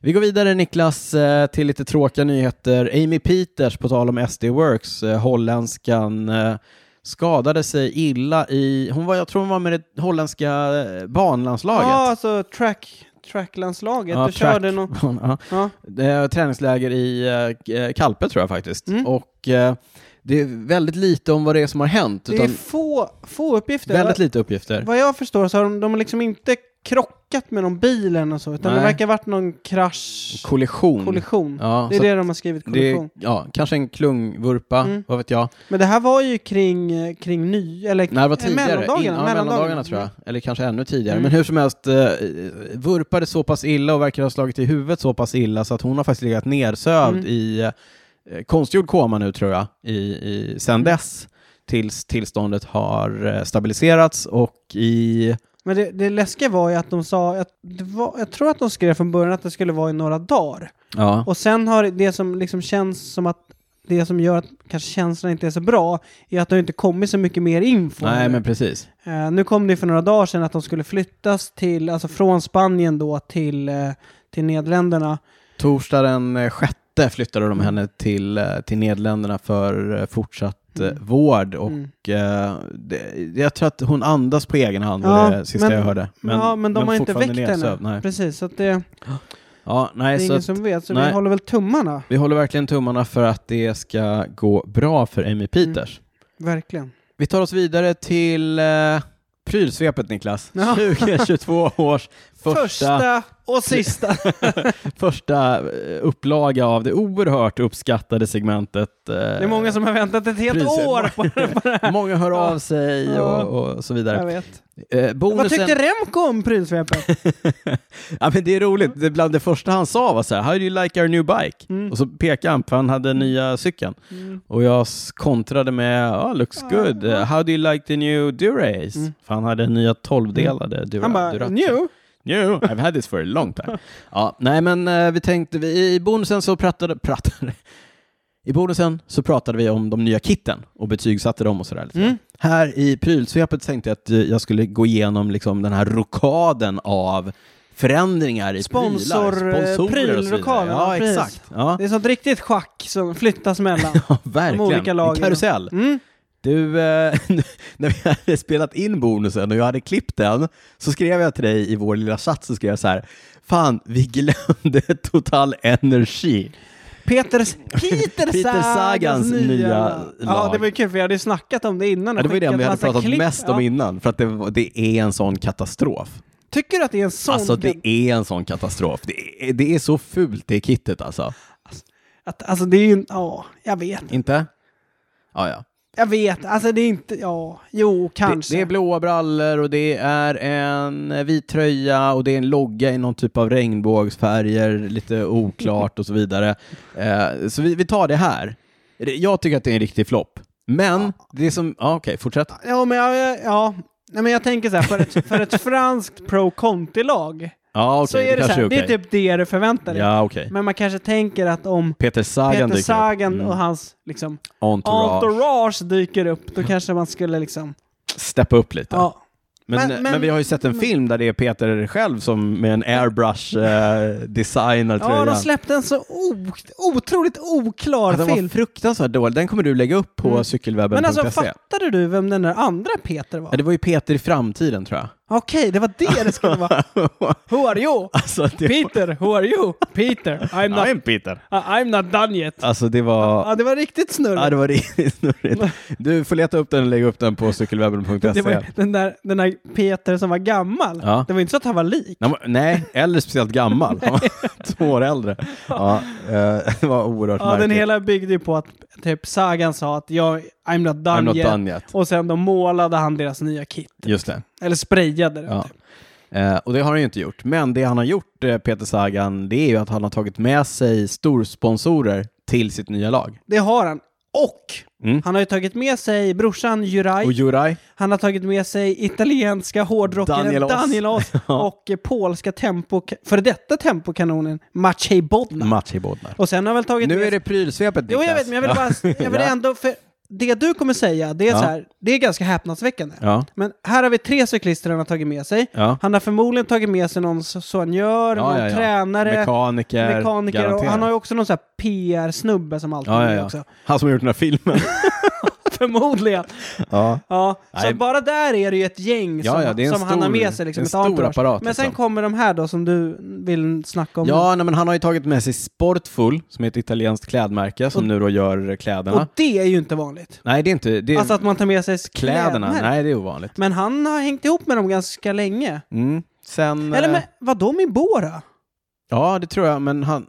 B: Vi går vidare Niklas eh, till lite tråkiga nyheter. Amy Peters, på tal om SD Works, eh, holländskan, eh, skadade sig illa i, hon var, jag tror hon var med det holländska eh, banlandslaget.
A: Ja, alltså track, tracklandslaget.
B: Ja,
A: Då körde
B: track.
A: någon...
B: Ja.
A: Ja.
B: Eh, träningsläger i eh, Kalpe tror jag faktiskt.
A: Mm.
B: Och eh, det är väldigt lite om vad det är som har hänt.
A: Det är
B: Utan
A: få, få uppgifter.
B: väldigt
A: Va-
B: lite uppgifter.
A: Vad jag förstår så har de, de har liksom inte krockat med någon bil eller något så, utan det
B: Nej.
A: verkar ha varit någon krasch,
B: Kollision.
A: kollision.
B: Ja,
A: det är
B: så
A: det de har skrivit,
B: att det
A: kollision.
B: är, ja, kanske en klungvurpa,
A: Mm.
B: vad vet jag.
A: Men det här var ju kring, eh, kring ny, eller
B: Nej, det var
A: eh,
B: tidigare.
A: mellandagarna,
B: In- ja, mellandagarna tror jag. Eller kanske ännu tidigare.
A: Mm.
B: Men hur som helst, eh, vurpade så pass illa och verkar ha slagit i huvudet så pass illa så att hon har faktiskt legat nersövd
A: Mm.
B: i eh, konstgjord koma nu tror jag, i, i,
A: Mm.
B: sen dess. Tills tillståndet har eh, stabiliserats och i...
A: Men det, det läskiga var ju att de sa, att det var, jag tror att de skrev från början att det skulle vara i några dagar.
B: Ja.
A: Och sen har det som liksom känns som att det som gör att kanske känslan inte är så bra är att det har inte kommit så mycket mer info.
B: Nej, men precis.
A: Eh, nu kom det ju för några dagar sedan att de skulle flyttas till, alltså från Spanien då till, eh, till Nederländerna.
B: Torsdag den eh, sjätte flyttade
A: Mm.
B: de henne till, eh, till Nederländerna för eh, fortsatt eh, vård och
A: Mm.
B: eh, det, jag tror att hon andas på egen hand
A: Ja,
B: var det sista
A: men-
B: jag hörde.
A: ja, men de har inte
B: fortfarande
A: väckt henne.
B: nedsövd, Nej.
A: Precis, så att det,
B: Ja,
A: det
B: nej,
A: är
B: så
A: ingen
B: att
A: som vet. Så vi
B: nej.
A: håller väl tummarna,
B: vi håller verkligen tummarna för att det ska gå bra för
A: Mm.
B: Amy Peters.
A: verkligen.
B: Vi tar oss vidare till eh, prylsvepet Niklas.
A: Ja.
B: 2022 års
A: Första,
B: första
A: och sista.
B: första eh, upplaga av det oerhört uppskattade segmentet. eh,
A: Det är många som har väntat ett helt
B: Priset.
A: år på det. På det här.
B: många hör av sig
A: Ja.
B: och, och så
A: Jag
B: vidare.
A: vet.
B: Eh,
A: Vad
B: bonusen,
A: tyckte Remco om prylsvepet?
B: ja, men det är roligt, det, bland det första han sa var så här, How do you like our new bike?
A: Mm.
B: Och så pekade han, för han hade nya cykeln. Och jag s- kontrade med, oh, looks good, Eh, how do you like the new Durace?
A: Mm.
B: För han hade nya 12-delade Dura,
A: Han bara,
B: Duratto.
A: new?
B: New, I've had this for a long time. ja, nej, men eh, vi tänkte, vi, i bonusen så pratade, pratade, i bonusen så pratade vi om de nya kitten och betygsatte dem och sådär. Lite.
A: Mm.
B: Här i prylsvepet tänkte jag att eh, jag skulle gå igenom liksom, den här rokaden av förändringar i
A: Sponsor- eh,
B: prylar, sponsorer och så vidare.
A: prylrokaden,
B: Ja,
A: ja, precis.
B: exakt. Ja,
A: Det är sånt riktigt schack som flyttas mellan.
B: ja verkligen.
A: olika
B: En
A: lagen.
B: karusell.
A: Mm.
B: Du, eh, när vi hade spelat in bonusen och jag hade klippt den så skrev jag till dig i vår lilla chatt så skrev jag så här, fan vi glömde Total Energi.
A: Peters, Peter,
B: Peter
A: Sagans,
B: Sagans
A: nya,
B: nya
A: Ja,
B: lag.
A: det var ju kul för vi hade ju snackat om det innan. och
B: Ja, det var ju det
A: skickat
B: vi hade
A: massa
B: pratat
A: klipp.
B: mest
A: Ja.
B: om innan, för att det, var- det är en sån katastrof.
A: Tycker du att det är en sån?
B: Alltså det är en sån katastrof. Det är, det är så fult det kittet alltså.
A: Att, alltså det är ju, ja, jag vet.
B: Inte? Ja, ja.
A: Jag vet, alltså det är inte, ja, jo,
B: Det,
A: kanske.
B: det är blåa brallor och det är en vit tröja och det är en logga i någon typ av regnbågsfärger, lite oklart och så vidare. Eh, så vi, vi tar det här. Det- Jag tycker att det är en riktig flopp. Men det som, ja okej, fortsätt.
A: Ja, men jag, jag- ja. Nej, men jag tänker så här, för ett, för ett franskt pro Conte-lag
B: Ja
A: så
B: okej,
A: är det, så
B: kanske
A: här,
B: är okej.
A: det är typ det du förväntar dig.
B: Ja okej.
A: Men man kanske tänker att om
B: Peter Sagan dyker
A: Peter
B: upp.
A: Sagan
B: Mm.
A: och hans liksom,
B: Entourage.
A: entourage dyker upp, då kanske man skulle liksom,
B: Steppa upp lite.
A: ja.
B: Men, eh,
A: Men-
B: men,
A: men-
B: vi har ju sett en film där det är Peter själv som med en airbrush eh, designar
A: Ja,
B: tröjan.
A: de släppte en så o- otroligt oklar
B: Ja, den var
A: film.
B: fruktansvärt dålig. Den kommer du lägga upp på cykelwebben.se.
A: Men alltså fattade du vem den där andra Peter var?
B: Ja, det var ju Peter i framtiden tror jag.
A: Okej, det var det det skulle vara. Who are you?
B: alltså, det
A: Peter, who are you? Peter, I'm
B: var...
A: not,
B: I'm Peter.
A: I- I'm not done yet.
B: Alltså det var...
A: Ja, det var riktigt
B: Ja,
A: snurrigt.
B: det var riktigt snurrigt. Du får leta upp den och lägga upp den på cykelwebben.se.
A: Det var ju den där, den där Peter som var gammal.
B: Ja.
A: Det var inte så att han var lik.
B: Nej, men- Nej, eller speciellt gammal. Han var Två år äldre. Ja, eh, det var oerhört
A: Ja, den
B: märkligt.
A: hela byggde ju på att typ Sagan sa att jag, I'm not done,
B: I'm not
A: yet.
B: done yet.
A: Och sen då målade han deras nya kit.
B: Just det.
A: Eller sprayade det.
B: Ja. Eh, och det har han ju inte gjort. Men det han har gjort, eh, Peter Sagan, det är ju att han har tagit med sig storsponsorer till sitt nya lag.
A: Det har han. Och
B: Mm.
A: han har ju tagit med sig brorsan Juraj.
B: Och Juraj,
A: Han har tagit med sig italienska hårdrockaren
B: Daniel
A: Daniel
B: Oss.
A: Oss och eh, polska tempo, för detta tempokanonen Maciej Bodnar.
B: Maciej Bodnar.
A: och sen har han väl tagit
B: Nu
A: med
B: är det prylsvepet
A: Jo, jag
B: Niklas.
A: vet, men jag vill bara... Jag vill
B: Ja.
A: ändå... För det du kommer säga, det är
B: Ja.
A: så här, det är ganska häpnadsväckande.
B: Ja.
A: Men här har vi tre cyklister han har tagit med sig.
B: Ja.
A: Han har förmodligen tagit med sig någon sonjör,
B: Ja,
A: någon
B: ja, ja.
A: tränare,
B: Mekaniker,
A: mekaniker och
B: garanterat.
A: han har ju också någon så här PR-snubbe som alltid är
B: Ja, ja,
A: med
B: ja.
A: också.
B: Han som har gjort den här filmen.
A: Förmodligen.
B: ja.
A: Ja, så
B: Nej.
A: bara där är det ju ett gäng som,
B: Ja, ja, det är en
A: som han har
B: stor-
A: med sig. Liksom,
B: en
A: ett
B: stor
A: entourage.
B: apparat,
A: Men sen
B: liksom.
A: kommer de här då som du vill snacka om.
B: Ja, nej, men han har ju tagit med sig Sportful, som är ett italienskt klädmärke som nu då gör kläderna.
A: och det är ju inte vanligt.
B: Nej, det är inte... Det är
A: Alltså att man tar med sig
B: kläderna.
A: kläderna.
B: Nej, det är ovanligt.
A: Men han har hängt ihop med dem ganska länge.
B: Mm. Sen...
A: Eller
B: eh,
A: men, var de i Bora?
B: Ja, det tror jag, men han...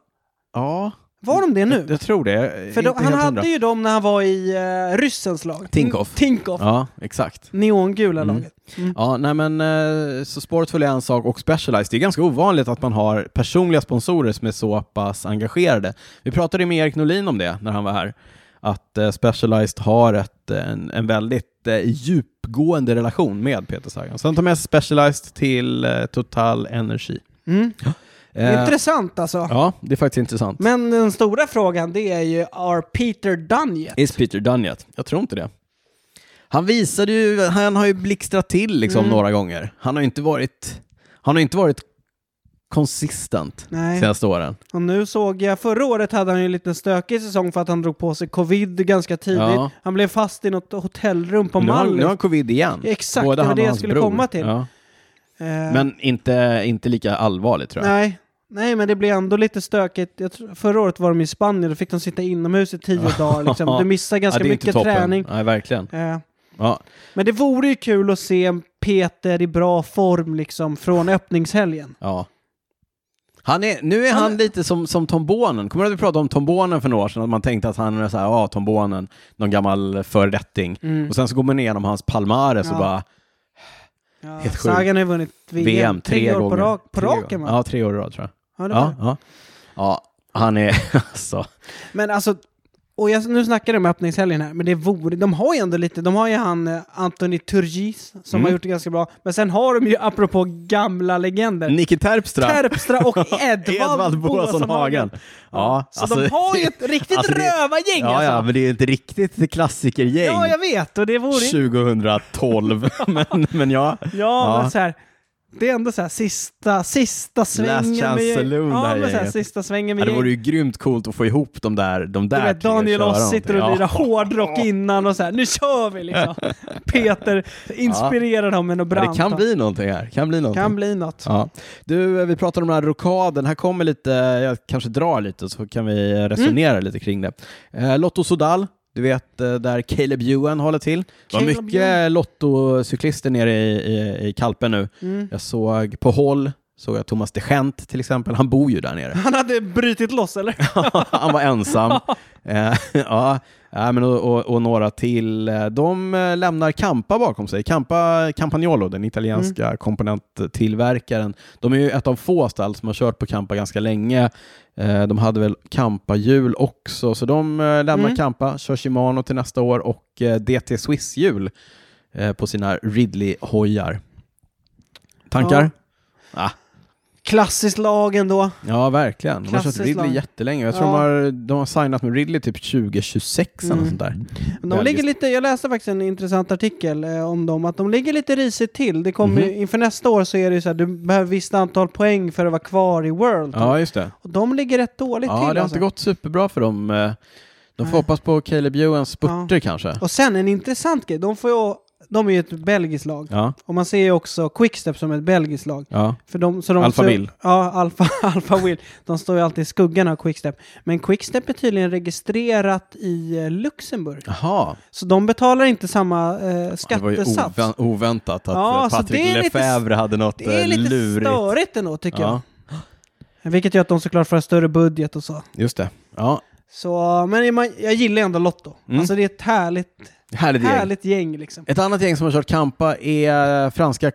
B: Ja,
A: Var de det nu?
B: jag tror det. Jag är
A: För då,
B: inte
A: han
B: helt
A: hade
B: hundra.
A: ju dem när han var i uh, ryssens lag.
B: Tinkoff.
A: Tinkoff.
B: Ja, Mm. exakt.
A: Neongula laget.
B: Ja, nej men eh, så Sportful är en sak och Specialized, det är ganska ovanligt att man har personliga sponsorer som är så pass engagerade. Vi pratade med Erik Norlin om det när han var här, att eh, Specialized har ett, eh, en, en väldigt eh, djupgående relation med Peter Sagan. Så han tar med sig Specialized till eh, Total Energy.
A: Mm. Det är
B: Eh,
A: Intressant alltså.
B: Ja, det är faktiskt intressant.
A: Men den stora frågan det är ju, are Peter done yet?
B: Is Peter done yet? Jag tror inte det. Han visade ju, han har ju blixtrat till liksom några gånger. Han har ju inte varit, han har inte varit konsistent
A: Nej.
B: senaste åren.
A: Och nu såg jag, förra året hade han ju en liten stökig säsong för att han drog på sig covid ganska tidigt.
B: Ja.
A: Han blev fast i något hotellrum på
B: Nu har, han- nu
A: Mallis.
B: har han covid igen.
A: Exakt, det var det
B: och
A: jag
B: hans
A: skulle komma till.
B: Ja.
A: Eh,
B: Men inte, inte lika allvarligt tror jag.
A: nej. nej, men det blev ändå lite stökigt. Jag tror, förra året var de i Spanien, då fick de sitta inomhus i tio dagar. Liksom. Du missar ganska
B: Ja, det är inte
A: mycket
B: toppen.
A: träning.
B: Nej, verkligen.
A: Eh,
B: Ja.
A: men det vore ju kul att se en Peter i bra form liksom från öppningshelgen.
B: Ja. Han är, nu är han,
A: Han-
B: lite som, som tombonen. Kommer du att vi pratade om tombonen för några år sedan? Att man tänkte att han är så här, ja, tombonen, någon gammal förrätting. Och sen så går man igenom hans Palmares
A: Mm. Ja.
B: och bara,
A: Ja,
B: Helt sjukt.
A: Sagan har ju vunnit VM,
B: VM tre,
A: år
B: gånger.
A: på, rak, på
B: Tre
A: raken
B: gånger.
A: va?
B: Ja, tre år i rad tror
A: Ja,
B: jag.
A: det
B: Ja,
A: var-
B: ja. ja, han är alltså...
A: Men alltså, och jag, nu snackar de om öppningshelgen här, men det vore, de har ju ändå lite, de har ju han eh, Anthony Turgis som
B: Mm.
A: har gjort det ganska bra, men sen har de ju apropå gamla legender,
B: Nicky Terpstra.
A: Terpstra och Edvald,
B: Mm, Edvald Boasson Hagen. Ja,
A: Så de har ju ett riktigt
B: alltså, det-
A: rövargäng
B: Ja, ja,
A: alltså.
B: men det är ju ett riktigt klassikergäng.
A: Ja, jag vet, och det vore...
B: 2012, men, men ja.
A: Ja,
B: Ja.
A: men så här, Det är ändå så här sista, sista svängen
B: chance
A: gäng-
B: saloon, det
A: Ja,
B: här
A: men så här,
B: gänget.
A: sista svängen
B: Ja,
A: med
B: det vore
A: gäng.
B: ju grymt coolt att få ihop de där, de där
A: Du vet,
B: till att
A: Daniel
B: köra
A: och oss
B: någonting.
A: sitter och
B: Ja.
A: lirar hårdrock innan och så här, nu kör vi liksom. Peter inspirerar dem med något
B: Ja,
A: brant.
B: det kan bli någonting här. Kan bli någonting.
A: kan bli något.
B: Ja. Du, eh, vi pratade om den här rokaden. Här kommer lite, jag kanske drar lite så kan vi
A: Mm.
B: eh, resonera lite kring det. Eh, Lotto Sodal, du vet eh, där Caleb Ewan håller till. Det var
A: Caleb
B: mycket Lotto-cyklister nere i, i, i Kalpen nu.
A: Mm.
B: Jag såg på håll, såg jag Thomas de Gent till exempel. Han bor ju där nere.
A: Han hade brutit loss eller?
B: Han var ensam. Eh, ja, ja, men och, och, och några till. Eh, De eh, lämnar Campa bakom sig. Campa Campagnolo, den italienska komponenttillverkaren. De är ju ett av få stall som har kört på Campa ganska länge. Eh, De hade väl Campa-hjul också, så de eh, lämnar
A: Mm.
B: Campa, kör Shimano till nästa år och eh, DT Swiss-hjul eh, på sina Ridley-hojar. Tankar? Ah.
A: Klassiskt lag ändå.
B: Ja, verkligen. De har kört
A: Klassiskt
B: Ridley
A: lag.
B: jättelänge. Jag tror
A: Ja.
B: de, har, de har signat med Ridley typ 2026 eller
A: Mm.
B: något sånt där.
A: Men De
B: Belgiskt.
A: ligger lite, jag läste faktiskt en intressant artikel eh, om dem, att de ligger lite risigt till. Det kommer
B: Mhm.
A: ju, inför nästa år så är det ju så här, du behöver visst antal poäng för att vara kvar i World.
B: Ja, just det.
A: Och de ligger rätt dåligt
B: Ja,
A: till
B: det har
A: alltså.
B: inte gått superbra för dem. Eh, De får
A: Nej.
B: hoppas på Caleb Ewans spurter kanske.
A: Och sen en intressant grej, de, får ju, de är ju ett belgiskt lag.
B: Ja,
A: Och man ser ju också Quickstep som ett belgiskt lag.
B: ja.
A: För de, så de
B: Alpha
A: så-
B: Will.
A: Ja, Alpha, Alpha Will. De står ju alltid i skuggan av Quickstep. Men Quickstep är tydligen registrerat i eh, Luxemburg.
B: Jaha,
A: Så de betalar inte samma eh,
B: det var ju
A: skattesats.
B: ovä- oväntat att
A: Ja,
B: eh,
A: så
B: Patrick
A: det är lite-
B: Lefebvre hade något
A: det är
B: eh,
A: lite
B: lurigt.
A: störigt ändå tycker
B: ja,
A: jag. Vilket gör att de såklart får en större budget och så.
B: just det. Ja,
A: så men är man- jag gillar ändå Lotto.
B: Mm.
A: Alltså det är ett härligt,
B: härligt gäng.
A: härligt gäng liksom.
B: Ett annat gäng som har kört Kampa är franska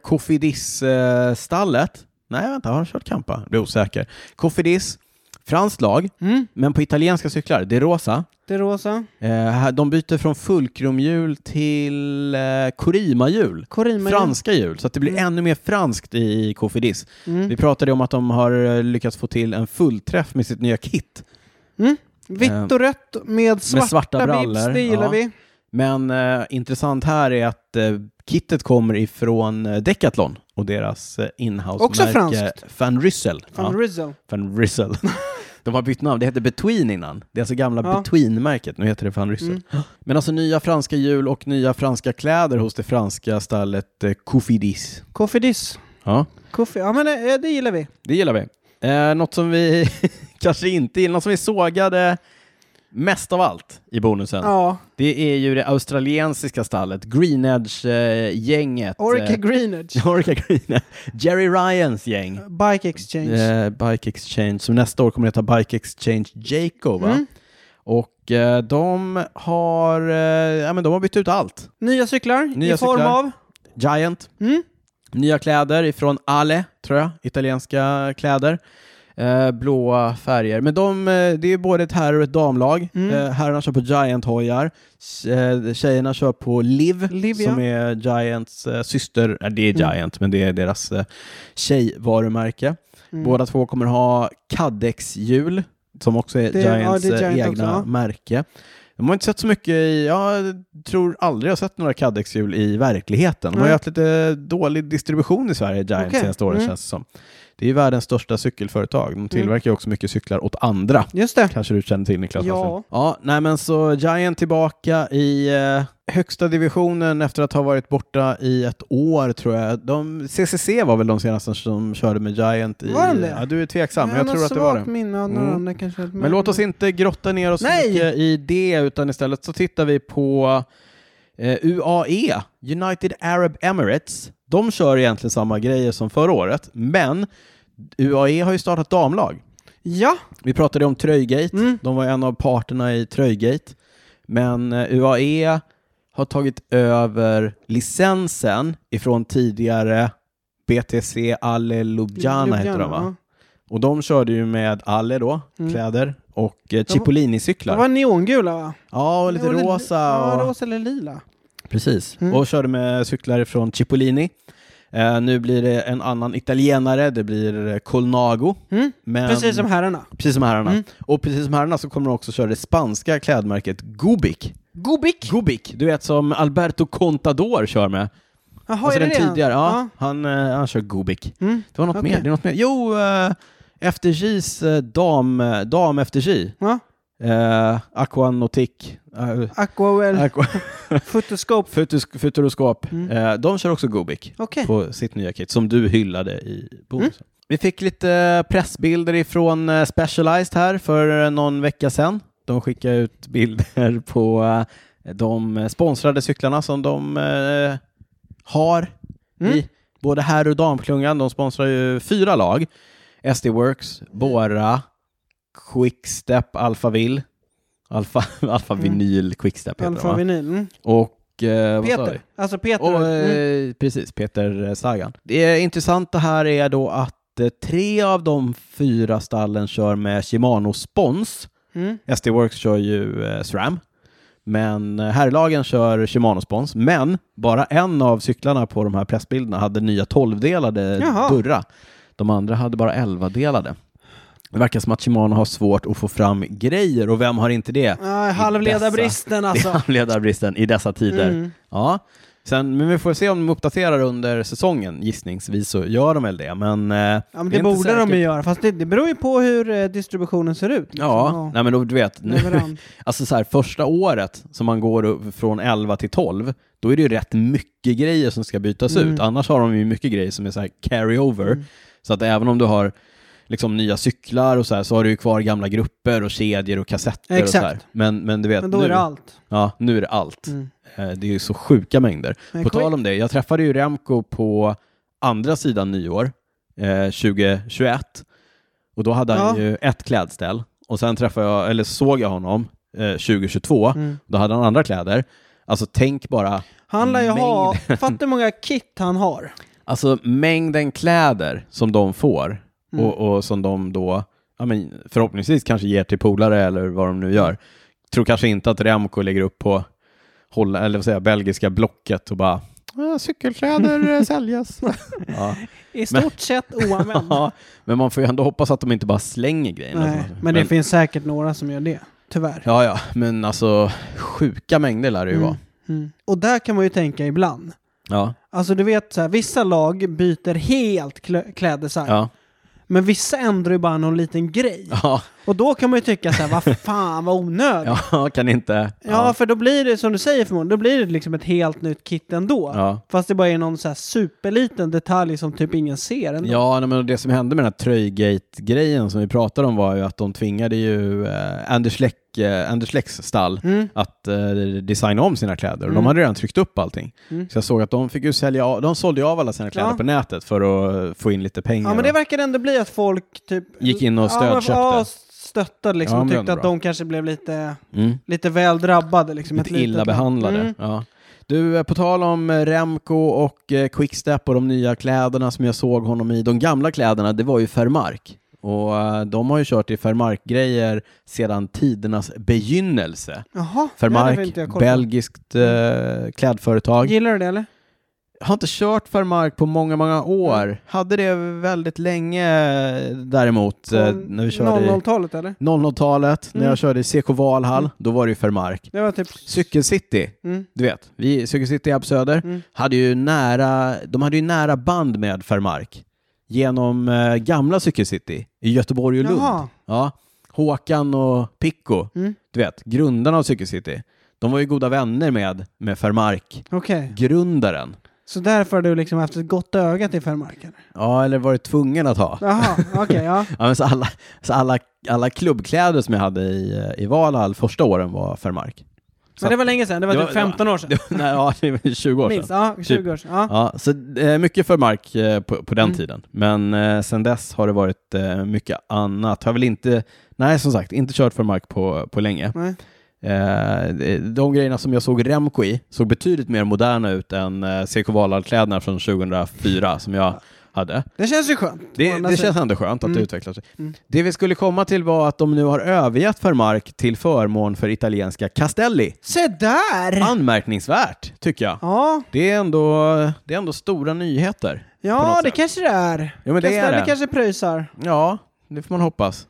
B: Cofidis-stallet. Nej, vänta, har de kört Kampa? Jag blir osäker. Cofidis, franskt lag,
A: Mm,
B: men på italienska cyklar. Det är rosa.
A: det är rosa.
B: Eh, här- de byter från fulkrumhjul till eh, Corima-hjul.
A: Corima.
B: Franska hjul, så att det blir
A: Mm.
B: ännu mer franskt i Cofidis.
A: Mm.
B: Vi pratade ju om att de har eh, lyckats få till en fullträff med sitt nya kit.
A: Vitt och rött med svarta,
B: svarta brallor,
A: bibs, det gillar
B: ja.
A: vi.
B: Men eh, intressant här är att eh, kittet kommer ifrån eh, Decathlon och deras eh, inhouse-märke
A: Också franskt.
B: Van Ryssel.
A: Från
B: ja,
A: Rizzo.
B: Van Ryssel. De har bytt namn, det hette Between innan. Det är alltså gamla
A: Ja.
B: Between-märket, nu heter det Van Ryssel.
A: Mm.
B: Men alltså nya franska hjul och nya franska kläder hos det franska stallet eh, Cofidis.
A: Kofidis.
B: Ja.
A: Kofi. Ja men eh, det gillar vi.
B: Det gillar vi. Eh, något som vi kanske inte gillar, något som vi sågade mest av allt i bonusen,
A: Ja.
B: det är ju det australiensiska stallet, Green Edge-gänget.
A: Orica Greenwich.
B: Orica Green Edge. Jerry Ryans gäng.
A: Bike Exchange.
B: Eh, Bike Exchange, som nästa år kommer att heta Bike Exchange Jaco, va?
A: Mm.
B: Och eh, de har, eh, ja, men de har bytt ut allt.
A: Nya cyklar
B: Nya
A: i form
B: cyklar.
A: av?
B: Giant,
A: Mm.
B: Nya kläder ifrån Ale, tror jag, italienska kläder. Eh, blåa färger. Men de, eh, det är både ett herr och ett damlag.
A: Mm.
B: Eh, herrarna kör på Giant-hojar, S- eh, tjejerna kör på Liv,
A: Liv, ja.
B: som är Giants eh, syster, nej det är Giant, men det är deras eh, tjejvarumärke.
A: Mm.
B: Båda två kommer ha Cadex-hjul, som också är
A: Det- ja, det är
B: Giants eh,
A: Giant
B: egna
A: också, ja.
B: märke. De har inte sett så mycket i, jag tror aldrig jag har sett några Cadex-hjul i verkligheten. De har
A: Nej.
B: ju haft lite dålig distribution i Sverige, Giant,
A: Okej.
B: senaste åren
A: Mm.
B: känns det som. Det är ju världens största cykelföretag. De tillverkar ju också mycket cyklar åt andra.
A: Just det.
B: Kanske du känner till Niklas?
A: Ja.
B: Hasslund? ja. Nej men så Giant tillbaka i eh, högsta divisionen efter att ha varit borta i ett år tror jag. De, CCC var väl de senaste som körde med Giant i...
A: Var de det?
B: Ja, du är tveksam, men jag
A: har
B: tror att det var
A: svagt
B: det.
A: minne av några
B: Mm.
A: andra kanske.
B: Men låt oss inte grotta ner oss så
A: Nej!
B: mycket i det, utan istället så tittar vi på eh, UAE, United Arab Emirates. De kör egentligen samma grejer som förra året, men UAE har ju startat damlag.
A: Ja,
B: Vi pratade om Tröjgate,
A: Mm.
B: de var en av parterna i Tröjgate. Men eh, UAE har tagit över licensen ifrån tidigare BTC Ale Ljubljana heter de va?
A: ja.
B: Och de körde ju med Ale då,
A: Mm.
B: kläder, och eh,
A: var-
B: Cipollini-cyklar.
A: Det var neongula va?
B: Ja, och lite
A: Det var
B: rosa.
A: Ja,
B: Och...
A: rosa eller lila.
B: Precis.
A: Mm.
B: Och körde med cyklar från Cipollini. Eh, nu blir det en annan italienare, det blir eh, Colnago.
A: Mm.
B: Men...
A: Precis som herrarna.
B: Precis som herrarna.
A: Mm.
B: Och precis som herrarna så kommer de också köra det spanska klädmärket Gubic.
A: Gobik!
B: Gubic, du vet som Alberto Contador kör med.
A: Jaha, är
B: alltså
A: det
B: den
A: det?
B: tidigare, ja,
A: Ja.
B: Han, eh, han kör Gubik.
A: Mm.
B: Det var något
A: Okej.
B: mer, det är något mer. Jo, eh, FDJs eh, dam, eh, dam FDJ.
A: Ja.
B: Eh, Aquanotic. Eh,
A: Aquawell,
B: Aqua-
A: Photoscope.
B: Futus- Futuroskop.
A: Mm.
B: Eh, de kör också Gubik
A: Okej.
B: på sitt nya kit som du hyllade i bonusen. Mm. Vi fick lite pressbilder ifrån eh, Specialized här för eh, någon vecka sedan. De skickade ut bilder på eh, de eh, sponsrade cyklarna som de eh, har
A: Mm.
B: i både här och damklungan. De sponsrar ju fyra lag. SD Works, Bora, Quickstep, Alphaville. Alpha, Alpha
A: Mm.
B: Vinyl Quickstep heter de,
A: Alfa
B: va?
A: vinyl. Mm.
B: Och eh, vad sa vi?
A: Peter. Alltså Peter.
B: Och,
A: mm.
B: eh, Precis, Peter Sagan. Det intressanta här är då att eh, tre av de fyra stallen kör med Shimano-spons.
A: Mm.
B: SD Works kör ju eh, SRAM, men eh, herrlagen kör Shimano-spons. Men bara en av cyklarna på de här pressbilderna hade nya 12-delade
A: Jaha.
B: burra. De andra hade bara 11-delade. Det verkar som att Shimano har svårt att få fram grejer och vem har inte det?
A: Ah, halvledarbristen
B: Det är
A: alltså.
B: handledarbristen i dessa tider.
A: Mm.
B: Ja, Sen, men vi får se om de uppdaterar under säsongen. Gissningsvis så gör de väl det, men... eh,
A: Ja, men
B: är
A: det
B: inte
A: borde de
B: säkert.
A: ju göra, fast det, det beror ju på hur eh, distributionen ser ut. liksom.
B: Ja, nej men då, du vet, nu,
A: Leverans.
B: alltså så här, första året som man går upp från 11 till 12, då är det ju rätt mycket grejer som ska bytas
A: Mm.
B: ut. Annars har de ju mycket grejer som är så här carry-over, så att även om du har liksom nya cyklar och så här, så har du ju kvar gamla grupper och kedjor och kassetter och så här.
A: Exakt.
B: Men, men du vet,
A: Men då
B: nu,
A: är det allt.
B: Ja, nu är det allt.
A: Mm.
B: Eh, Det är ju så sjuka mängder.
A: Men
B: På
A: quick-
B: tal om det, jag träffade ju Remco på andra sidan nyår, eh, 2021. Och då hade han
A: Ja.
B: ju ett klädställ. Och sen träffade jag, eller såg jag honom eh, 2022.
A: Mm.
B: Då hade han andra kläder. Alltså tänk bara,
A: Han lär ju ha, fatta hur många kit han har.
B: alltså mängden kläder som de får
A: Mm.
B: och, och som de då ja, men förhoppningsvis kanske ger till polare eller vad de nu gör. Tror kanske inte att Remco lägger upp på Holla, eller vad säger jag, belgiska blocket och bara "Ah, cykelkläder eh, säljas. ja.
A: I stort sett oanvänd.
B: Ja, men man får ju ändå hoppas att de inte bara slänger grejerna.
A: Nej,
B: Alltså,
A: men det finns säkert några som gör det, tyvärr.
B: Ja, ja, men alltså sjuka mängder lär det ju vara.
A: Mm. Och där kan man ju tänka ibland.
B: Ja,
A: Alltså du vet så här, vissa lag byter helt klä- kläddesign,
B: ja,
A: men vissa ändrar ju bara någon liten grej.
B: ja,
A: Och då kan man ju tycka så här, vad fan vad onödigt. Ja.
B: ja, kan inte.
A: för då blir det som du säger förmodligen, då blir det liksom ett helt nytt kit ändå.
B: ja.
A: Fast det bara är någon så här superliten detalj som typ ingen ser ändå.
B: Ja, nej, men det som hände med den här Tröjgate-grejen som vi pratade om var ju att de tvingade ju eh, Anders, Läck, eh, Anders Läcks stall
A: Mm.
B: att eh, designa om sina kläder. Och
A: Mm.
B: de hade redan tryckt upp allting.
A: Mm.
B: Så jag såg att de fick ju sälja av, de sålde ju av alla sina kläder
A: Ja.
B: på nätet för att eh, få in lite pengar.
A: Ja men det verkar ändå bli att folk typ
B: Gick in och
A: ja, men-
B: stödköpte.
A: ja, stöttade liksom
B: Ja,
A: och
B: men det är
A: tyckte
B: ändå
A: att
B: bra.
A: de kanske blev lite,
B: mm.
A: lite väl drabbade liksom.
B: Lite
A: Ett litet
B: illa
A: lag.
B: behandlade.
A: Mm.
B: Ja. Du, eh, på tal om eh, Remco och eh, Quickstep och de nya kläderna som jag såg honom i. De gamla kläderna, det var ju Fermark. Och eh, de har ju kört i Fermark-grejer sedan tidernas begynnelse.
A: Jaha, det hade väl inte jag Mm.
B: Fermark,
A: koll på.
B: belgiskt eh, klädföretag.
A: Gillar du det eller?
B: Har inte kört Fermark på många, många år.
A: Mm.
B: Hade det väldigt länge eh, däremot.
A: På
B: eh, när vi körde i
A: 00-talet eller?
B: 00-talet, när
A: Mm.
B: jag körde i CK Valhall,
A: Mm.
B: då var det ju Fermark.
A: Det var typ...
B: Cykelcity,
A: Mm.
B: du vet, vi, Cirkus City i Söder
A: Mm.
B: hade ju nära, de hade ju nära band med Fermark genom eh, gamla Cirkus City i Göteborg och Lund.
A: Jaha.
B: Ja, Håkan och Picco,
A: Mm.
B: du vet, grundarna av Cirkus City, de var ju goda vänner med, med Fermark,
A: Okej.
B: grundaren.
A: Så därför har du liksom haft ett gott öga till Fermark? eller?
B: Ja, eller varit tvungen att ha.
A: Jaha, okej, ja.
B: Ja, men så alla, så alla, alla klubbkläder som jag hade i, eh, i Valhall första åren var Fermark.
A: Men det var länge sedan, det var
B: Det
A: typ
B: var-
A: 15 år sedan.
B: Det, nej, ja, det var 20 år sedan. Typ.
A: Minst, ja, 20 år sedan. Ja.
B: Ja, så eh, mycket för Mark eh, på, på den
A: Mm.
B: tiden. Men eh, sen dess har det varit eh, mycket annat. Har väl inte, nej som sagt, inte kört för Mark på, på länge.
A: Nej.
B: Eh, de- de grejerna som jag såg Remco i såg betydligt mer moderna ut än eh, CK Valhall-kläderna från 2004 som jag hade.
A: Det känns ju skönt. å
B: Det,
A: andra
B: det
A: sidan.
B: känns ändå skönt att
A: Mm.
B: det utvecklar sig.
A: Mm.
B: Det vi skulle komma till var att de nu har övergett för Mark till förmån för italienska Castelli.
A: Se där!
B: Anmärkningsvärt, tycker jag.
A: Ja,
B: Det är ändå, det är ändå stora nyheter. På
A: ja
B: något
A: det
B: sätt.
A: kanske det är.
B: Ja, men det är
A: Castelli
B: det.
A: kanske pröjsar.
B: Ja, det får man hoppas.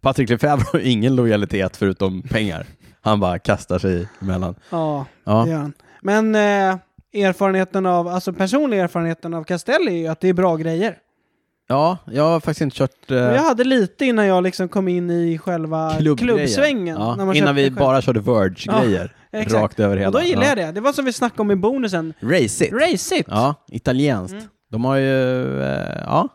B: Patrik Lefebvre har ingen lojalitet förutom pengar. Han bara kastar sig emellan.
A: Ja, det
B: Ja,
A: gör han. Men eh, erfarenheten av, alltså personliga erfarenheten av Castelli är ju att det är bra grejer.
B: Ja, jag har faktiskt inte kört... eh,
A: Och jag hade lite innan jag liksom kom in i själva
B: klubbgrejen.
A: klubbsvängen.
B: Ja,
A: när man
B: innan
A: köpte
B: vi
A: själv.
B: bara körde Verge-grejer.
A: Ja, exakt.
B: rakt över hela.
A: Och då gillade
B: ja.
A: jag det. Det var som vi snackade om i bonusen.
B: Race it.
A: Race it!
B: Ja, italienskt.
A: Mm.
B: De har ju, eh, ja,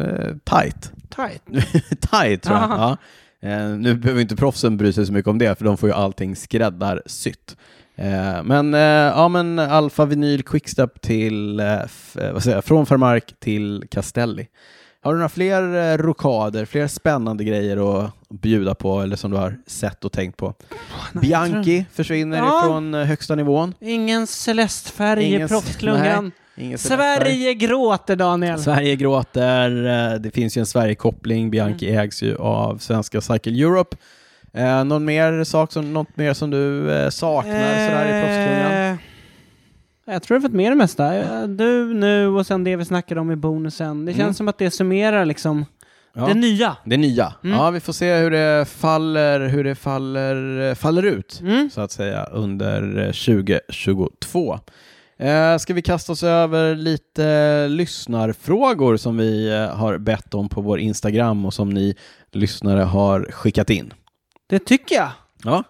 B: eh, tight.
A: Tight.
B: tight tror jag.
A: Aha.
B: Ja. Eh, nu behöver inte proffsen bry sig så mycket om det, för de får ju allting skräddarsytt. Eh, men eh, ja, men Alfa Vinyl Quickstep till, eh, f- eh, vad säger jag, från Fermark till Castelli. Har du några fler eh, rokader, fler spännande grejer att bjuda på eller som du har sett och tänkt på? Bianchi försvinner
A: Ja.
B: ifrån eh, högsta nivån.
A: Ingen celestfärg i
B: Ingen-
A: proffsklungan.
B: nej, ingen Sebastian.
A: Sverige gråter, Daniel.
B: Sverige gråter, eh, det finns ju en
A: Mm.
B: Sverige-koppling, Bianchi ägs ju av svenska Cycle Europe. Eh, någon mer sak som, något mer som du eh, saknar sådär i proffsklungan?
A: Eh, Jag tror jag har fått med det mesta. Eh, Du nu och sen det vi snackade om i bonusen. Det känns
B: Mm.
A: som att det summerar liksom
B: Ja.
A: det nya.
B: Det nya.
A: Mm.
B: Ja, vi får se hur det faller, hur det faller, eh, faller ut,
A: Mm.
B: så att säga, under eh, 2022. Eh, ska vi kasta oss över lite eh, lyssnarfrågor som vi eh, har bett om på vår Instagram och som ni lyssnare har skickat in?
A: Det tycker jag.
B: Ja.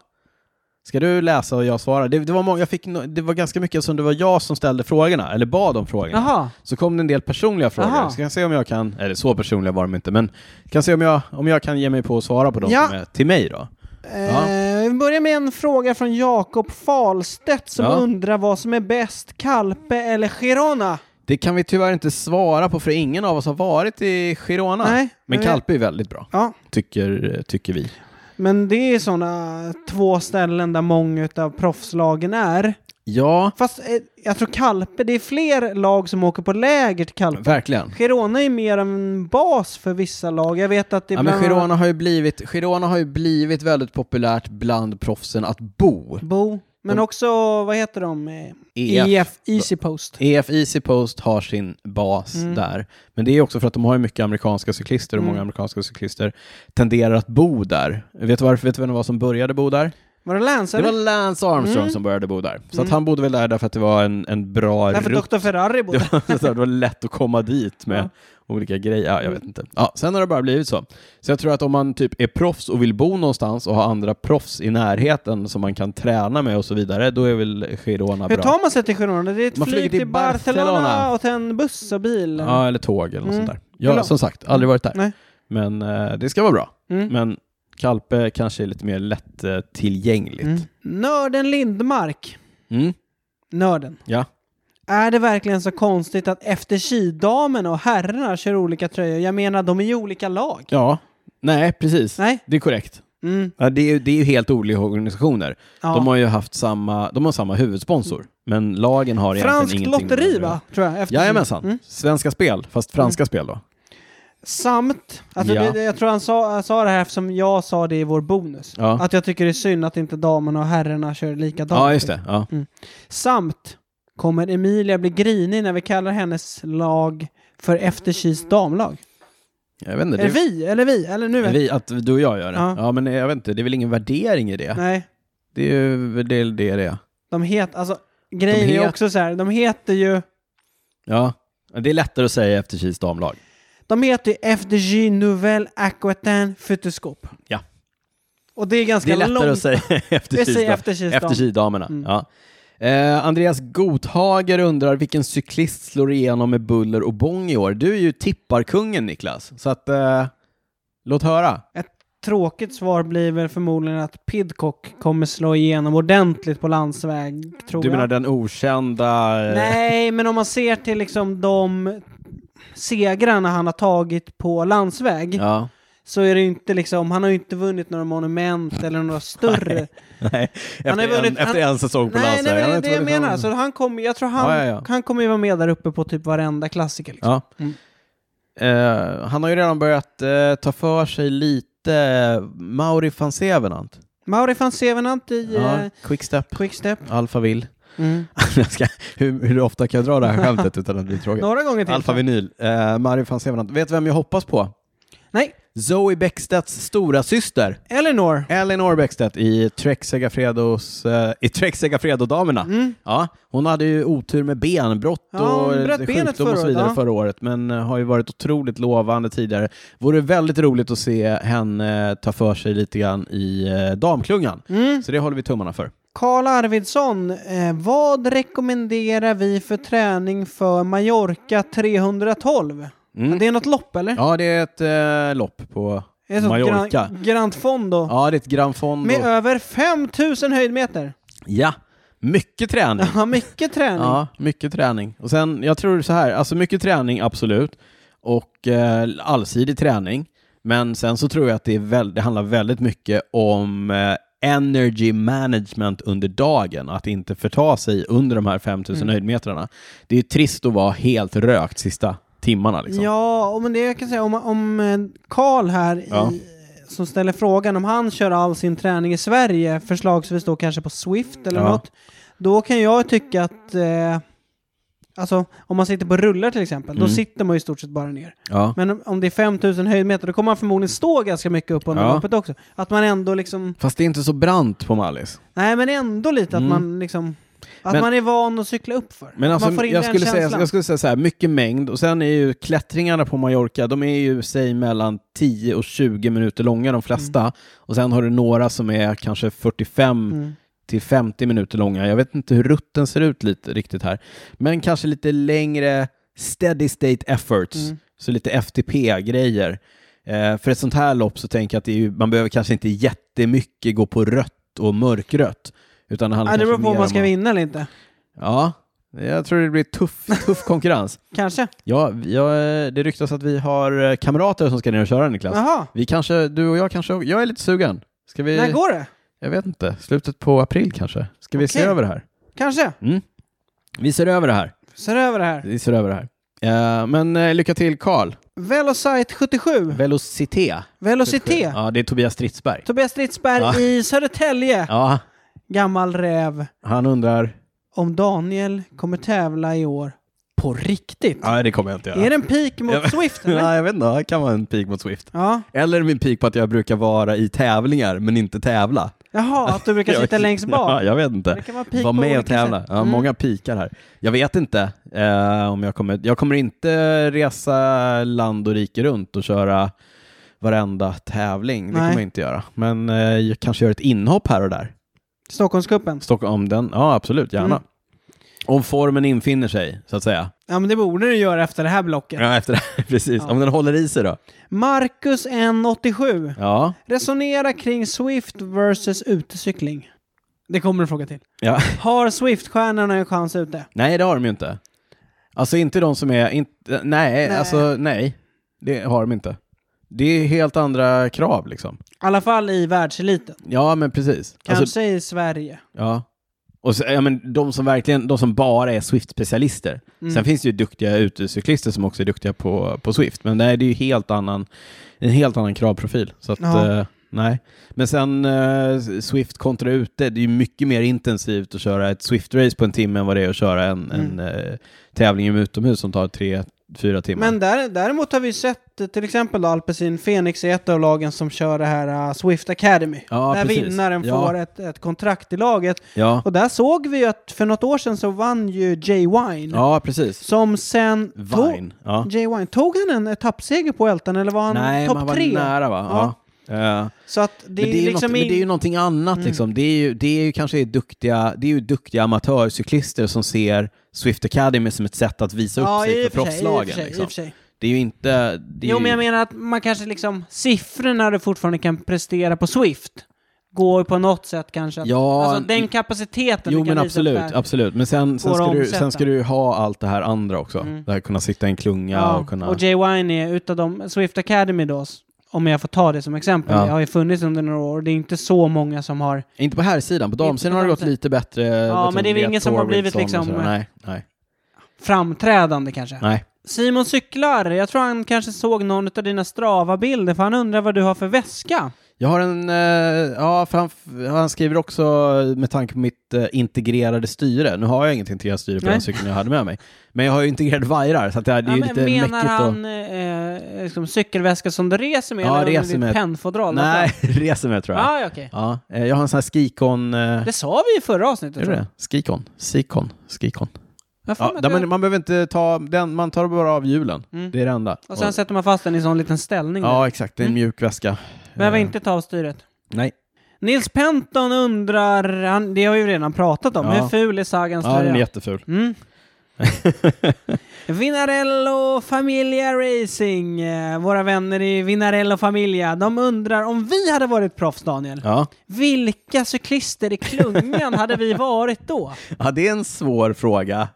B: Ska du läsa och jag svarar? Det, det, var, många, jag fick, no- det var ganska mycket som det var jag som ställde frågorna, eller bad om frågorna.
A: Jaha.
B: Så kom det en del personliga frågor.
A: Aha.
B: Så kan jag se om jag kan, eller så personliga var de inte, men kan se om jag, om jag kan ge mig på att svara på dem
A: Ja.
B: som är till mig då. Ja.
A: Eh, vi börjar med en fråga från Jakob Falstedt som
B: Ja.
A: undrar vad som är bäst, Calpe eller Girona?
B: Det kan vi tyvärr inte svara på för ingen av oss har varit i Girona.
A: Nej,
B: Ah, men
A: jag vet.
B: Calpe är väldigt bra,
A: Ja,
B: tycker, tycker vi.
A: men det är sådana två ställen där många av proffslagen är.
B: Ja,
A: Fast eh, jag tror Calpe, det är fler lag som åker på läger till Calpe.
B: verkligen.
A: Girona är mer en bas för vissa lag. Jag vet att det är
B: Ja, men
A: bland annat
B: Girona, har ju blivit, Girona har ju blivit väldigt populärt bland proffsen att bo. E
A: Bo, men
B: De-
A: också, vad heter de? Eh,
B: EF.
A: EF Easy Post.
B: EF Easy Post har sin bas
A: Mm.
B: där. Men det är också för att de har ju mycket amerikanska cyklister och
A: Mm.
B: många amerikanska cyklister tenderar att bo där. Vet du varför? Vet du vem det var som började bo där?
A: Var det Lance?
B: Det var
A: eller?
B: Lance Armstrong
A: Mm.
B: som började bo där. Så
A: Mm.
B: att han bodde väl där därför att det var en, en bra
A: Därför
B: rutt.
A: Dr. Ferrari bodde.
B: Det var, så här, det var lätt att komma dit med
A: Ja.
B: olika grejer. Ja, jag vet inte. Ja, sen har det bara blivit så. Så jag tror att om man typ är proffs och vill bo någonstans och ha andra proffs i närheten som man kan träna med och så vidare, då är väl Girona
A: Hur
B: bra.
A: tar man sig till Girona? Det är ett
B: Man
A: flyg
B: flyger till
A: till Barcelona,
B: Barcelona.
A: och sen buss och bil.
B: Ja, eller tåg eller något
A: Mm.
B: sånt där.
A: Hur
B: Jag har
A: långt?
B: som sagt aldrig varit där.
A: Nej.
B: Men eh, det ska vara bra.
A: Mm.
B: Men Kalpe kanske är lite mer lättillgängligt.
A: Mm.
B: Mm.
A: Nörden Lindmark. Nörden.
B: Ja.
A: Är det verkligen så konstigt att efter damerna och herrarna kör olika tröjor? Jag menar, de är ju olika lag.
B: ja, nej precis.
A: Nej?
B: Det är korrekt.
A: Mm.
B: Ja, det, är, ju- det är ju helt olika organisationer.
A: Ja.
B: De har ju haft samma, de har samma huvudsponsor, men lagen har egentligen
A: Franskt
B: ingenting med
A: lotteri
B: det att göra.
A: va? Tror jag. efter-
B: Jajamensan.
A: Mm.
B: Svenska spel, fast franska spel då.
A: Samt, alltså
B: Ja.
A: det- det, jag tror han sa, han sa det här eftersom jag sa det i vår bonus.
B: Ja.
A: Att jag tycker det är synd att inte damerna och herrarna kör likadant.
B: Ja, just det. Ja.
A: Samt, kommer Emilia bli grinig när vi kallar hennes lag för Efterkis damlag?
B: Jag vet inte.
A: Eller vi, eller vi, eller nu.
B: det, vi, att du och jag gör det.
A: Ja.
B: Ja. men jag vet inte. Det är väl ingen värdering i det.
A: Nej,
B: Det är ju det är det. det är.
A: de heter, alltså grejen
B: De
A: är
B: het-
A: också så här, de heter ju,
B: Ja, det är lättare att säga efter Kils damlag.
A: de heter ju FDJ Nouvelle Aquitaine Futuskop.
B: Ja.
A: Och det är
B: Det
A: ganska
B: är lättare att
A: långt.
B: säga efter
A: Vi
B: Kils
A: säger
B: dam-
A: efter Kils
B: efter
A: dam.
B: Kils damerna.
A: Mm.
B: Ja. Eh, Andreas Gothager undrar vilken cyklist slår igenom med buller och bång i år? Du är ju tipparkungen Niklas, så att eh, låt höra.
A: Ett tråkigt svar blir väl förmodligen att Pidcock kommer slå igenom ordentligt på landsväg, tror
B: Du menar
A: jag.
B: den okända... eh,
A: Nej, men om man ser till liksom de segrarna han har tagit på landsväg
B: Ja,
A: så är det ju inte liksom, han har ju inte vunnit några monument eller några större.
B: nej.
A: Han har
B: Efter,
A: vunnit-
B: en, efter en säsong på
A: nej, nej, men det
B: landsvägen. Han
A: är
B: har
A: det
B: inte
A: jag
B: vunnit
A: menar. Alltså-
B: någon-
A: Så han kommer, jag tror han,
B: liksom- Ja, ja, ja.
A: han kommer ju vara med där uppe på typ varenda klassiker. Liksom.
B: Ja.
A: Mm.
B: Eh, han har ju redan börjat eh, ta för sig lite eh, Mauri van Sevenant.
A: Mauri van Sevenant i eh,
B: Ja, quickstep,
A: Quickstep.
B: Alfa Vill.
A: Mm.
B: Jag ska, hur, hur ofta kan jag dra det här skämtet utan att bli tråkig?
A: Några gånger till.
B: Alfa Vinyl, eh, Mario van Sevenant. Vet du vem jag hoppas på?
A: Nej,
B: Zoe Bäckstedts stora syster
A: Eleanor.
B: Elinor Bäckstedt i Trek Segafredos, eh, i Trek Segafredo-damerna. Ja, hon hade ju otur med benbrott
A: Mm. Ja, hon
B: och
A: bröt
B: eh,
A: benet
B: sjukdom och så
A: förra året,
B: vidare
A: ja.
B: förra året, men eh, har ju varit otroligt lovande tidigare. Vore väldigt roligt att se henne eh, ta för sig lite grann i eh, damklungan.
A: mm.
B: Så det håller vi tummarna för.
A: Karl Arvidsson, eh, vad rekommenderar vi för träning för Mallorca 312?
B: Mm.
A: Det är något lopp eller?
B: Ja, det är ett eh, lopp på
A: Det är ett sånt
B: Mallorca.
A: gran- Grand Fondo.
B: Ja, det är ett Gran Fondo.
A: Med över 5000 höjdmeter.
B: Ja, mycket träning.
A: Ja, mycket träning.
B: Ja, mycket träning. Och sen, jag tror så här, alltså mycket träning, absolut. Och eh, allsidig träning. Men sen så tror jag att det, är väl, det handlar väldigt mycket om eh, energy management under dagen, att inte förta sig under de här 5000
A: Mm.
B: höjdmetrarna. Det är ju trist att vara helt rökt sista timmarna. Liksom.
A: Ja, och men det jag kan säga om, om eh, Karl här
B: Ja.
A: i, som ställer frågan om han kör all sin träning i Sverige, förslagsvis då kanske på Swift eller
B: Ja.
A: något, då kan jag tycka att eh, Alltså om man sitter på rullar till exempel, då
B: Mm.
A: sitter man ju i stort sett bara ner.
B: Ja.
A: Men om- om det är 5000 höjdmeter, då kommer man förmodligen stå ganska mycket upp under
B: Ja.
A: loppet också. Att man ändå liksom,
B: Fast det är inte så brant på Mallis.
A: nej men ändå lite att
B: Mm.
A: man liksom, att
B: Men-
A: man är van att cykla upp för.
B: Men alltså,
A: man får in
B: jag,
A: den
B: skulle säga,
A: känslan.
B: jag skulle säga så här, mycket mängd och sen är ju klättringarna på Mallorca, de är ju säg mellan 10 och 20 minuter långa de flesta och sen har du några som är kanske 45
A: Mm.
B: till 50 minuter långa. Jag vet inte hur rutten ser ut lite riktigt här, men kanske lite längre steady state efforts,
A: Mm.
B: så lite FTP-grejer. Eh, för ett sånt här lopp så tänker jag att det är ju, man behöver kanske inte jättemycket gå på rött och mörkrött, utan det handlar
A: Ja, det beror
B: kanske
A: på om
B: mer
A: man ska
B: om att-
A: vinna eller inte.
B: Ja, jag tror det blir tuff, tuff konkurrens.
A: Kanske.
B: Ja, vi- ja, eh, det ryktas att vi har eh, kamrater som ska ner och köra Niklas.
A: Jaha,
B: Vi kanske, du och jag kanske, jag är lite sugen. Ska vi,
A: när går det?
B: jag vet inte, slutet på april kanske? Ska vi se
A: Okej.
B: över det här?
A: Kanske.
B: Vi ser över det här.
A: Ser över det här.
B: Vi ser över det här. Eh, men eh, lycka till Karl.
A: Velocite 77.
B: Velocité.
A: Velocité.
B: Ja, det är Tobias Stridsberg.
A: Tobias Stridsberg
B: Ja.
A: i Södertälje.
B: Ja,
A: Gammal räv.
B: han undrar.
A: Om Daniel kommer tävla i år på riktigt.
B: Nej, det kommer jag inte göra.
A: Är det en peak mot
B: Ja.
A: Swift? Eller?
B: Nej, jag vet inte. Det kan vara en pik mot Swift.
A: Ja.
B: Eller min pik på att jag brukar vara i tävlingar, men inte tävla.
A: Jaha, att du brukar
B: Jag-
A: sitta längst
B: Ja,
A: bak.
B: jag vet inte.
A: Det kan vara peak
B: Var
A: på
B: med och
A: olika
B: tävla.
A: sätt. Mm.
B: Ja, Många pikar här. Jag vet inte eh, om jag kommer... Jag kommer inte resa land och rike runt och köra varenda tävling. Det
A: Nej.
B: kommer jag inte göra. Men eh, jag kanske gör ett inhopp här och där.
A: Stockholmscupen.
B: Stockholm, om den, ja absolut, gärna.
A: Mm.
B: Om formen infinner sig, så att säga.
A: Ja, men det borde du göra efter det här blocket.
B: Ja, efter det här, precis.
A: Ja.
B: Om den håller i sig då.
A: Marcus N87.
B: Ja.
A: Resonera kring Swift versus utecykling. Det kommer en fråga till.
B: ja.
A: Har Swift-stjärnorna en chans ute?
B: Nej, det har de ju inte. Alltså inte de som är... Inte, nej,
A: Nej.
B: alltså nej. Det har de inte. Det är helt andra krav liksom.
A: I alla fall i världseliten.
B: Ja, men precis.
A: Kanske
B: Alltså,
A: i Sverige.
B: ja. Och så, ja, men de som verkligen, de som bara är Swift-specialister.
A: Mm.
B: Sen finns det ju duktiga utecyklister som också är duktiga på, på Swift, men nej, det är ju helt annan, en helt annan kravprofil. Så att,
A: Ja.
B: eh, nej. Men sen eh, Swift kontra ute, det är ju mycket mer intensivt att köra ett Swift-race på en timme än vad det är att köra en,
A: Mm.
B: en eh, tävling utomhus som tar tre, fyra timmar.
A: Men där, däremot har vi sett eh, till exempel då, Alpecin Fenix är ett av lagen som kör det här eh, Swift Academy.
B: Ja,
A: där
B: precis.
A: vinnaren
B: Ja.
A: får ett, ett kontrakt i laget.
B: ja.
A: Och där såg vi ju att för något år sedan så vann ju Jay Wine.
B: ja, precis.
A: Som sen... tog-
B: Vine. Ja.
A: Jay Wine. Tog han en etappseger på Eltan eller var han
B: Nej, man
A: topp
B: var
A: tre?
B: nära va? Ja. Eh,
A: Så att det,
B: men, det är ju
A: liksom Mm.
B: något, men det är ju
A: in...
B: någonting annat. Liksom. Det, är ju, det är ju kanske duktiga, det är ju duktiga amatörcyklister som ser Swift Academy som ett sätt att visa upp sig
A: i
B: för
A: och sig, i och
B: proffslagen.
A: sig, i och
B: liksom.
A: för sig.
B: Det är ju inte... Det är
A: Jo, men jag
B: ju,
A: menar att man kanske liksom siffrorna du fortfarande kan prestera på Swift går på något sätt kanske. Att,
B: Ja,
A: alltså den kapaciteten
B: jo,
A: du kan
B: men
A: visa upp
B: absolut,
A: där.
B: absolut. Men sen, sen,
A: Går
B: ska
A: att
B: du,
A: omsätta.
B: sen ska du ju ha allt det här andra också.
A: Mm.
B: Det här kunna sitta i en klunga och kunna...
A: Jay Wine är utav de, Swift Academy då, s- om jag får ta det som exempel,
B: Ja.
A: det har ju funnits under några år, det är inte så många som har,
B: inte på här sidan, på damsidan
A: på
B: har det gått
A: damsidan.
B: lite bättre.
A: Ja, men det är väl ingen som har blivit
B: Wilson och
A: liksom-
B: sådär. Nej, nej,
A: framträdande kanske.
B: nej.
A: Simon Cyklar, jag tror han kanske såg någon av dina Strava-bilder, för han undrar vad du har för väska.
B: Jag har en, eh, ja, för han, han skriver också eh, med tanke på mitt eh, integrerade styre. Nu har jag inget integrerat styre på
A: Nej.
B: den cykeln jag hade med mig. Men jag har ju integrerade vajrar, så att det är det är ju
A: men
B: lite
A: menar
B: mäckigt att...
A: han eh, liksom cykelväska som du reser med?
B: Ja,
A: eller om det
B: reser
A: är
B: med.
A: Pennfodral?
B: Nej, reser med tror jag.
A: Ah, Alltså- ja, okej.
B: Ja, eh, jag har en sån här skikon... Eh,
A: Det sa vi i förra avsnittet.
B: är det det? Skikon? Sikon? Skikon?
A: Jag får
B: Ja,
A: mig att
B: där
A: jag-
B: man, man behöver inte ta den, man tar bara av hjulen.
A: Mm.
B: Det är det enda.
A: Och sen Mm. sätter man fast den i en sån liten ställning. där.
B: ja, exakt. Det är en mjuk väska.
A: Behöver
B: Eh,
A: inte ta av styret.
B: Nej.
A: Nils Penton undrar, han, det har vi ju redan pratat om,
B: Ja.
A: hur ful är Sagans
B: Ja, den är
A: tröja?
B: jätteful.
A: Mm. Vinarello Familia Racing, eh, våra vänner i Vinarello Familia, de undrar om vi hade varit proffs Daniel,
B: Ja.
A: vilka cyklister i klungan hade vi varit då?
B: ja, det är en svår fråga.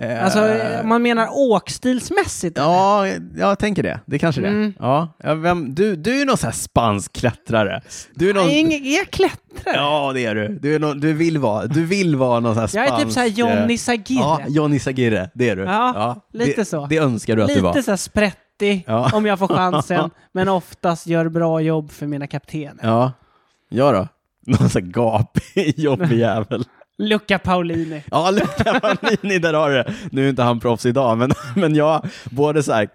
B: Eh,
A: Alltså, eh, man menar åkstilsmässigt?
B: Ja, jag tänker det. Det är kanske det.
A: Mm.
B: Ja. Ja, vem, du, du är någon sån här spansk klättrare. Du är någon...
A: Jag är ingen- jag klättrar.
B: Ja, det är du. Du, är någon, du, vill, vara, du vill vara någon sån här
A: jag
B: spansk...
A: är typ såhär
B: eh,
A: Johnny Sagirre.
B: Ja, Johnny Sagirre, det är du.
A: Ja, lite
B: det,
A: så.
B: Det önskar du att du var.
A: Lite så här sprättig
B: Ja.
A: om jag får chansen, men oftast gör bra jobb för mina kaptener.
B: Ja. Jag då? Någon sån här gapig, jobbig jävel.
A: Luca Paulini.
B: Ja, Luca Paulini, där har du det. Nu är inte han proffs idag, men, men jag, både så här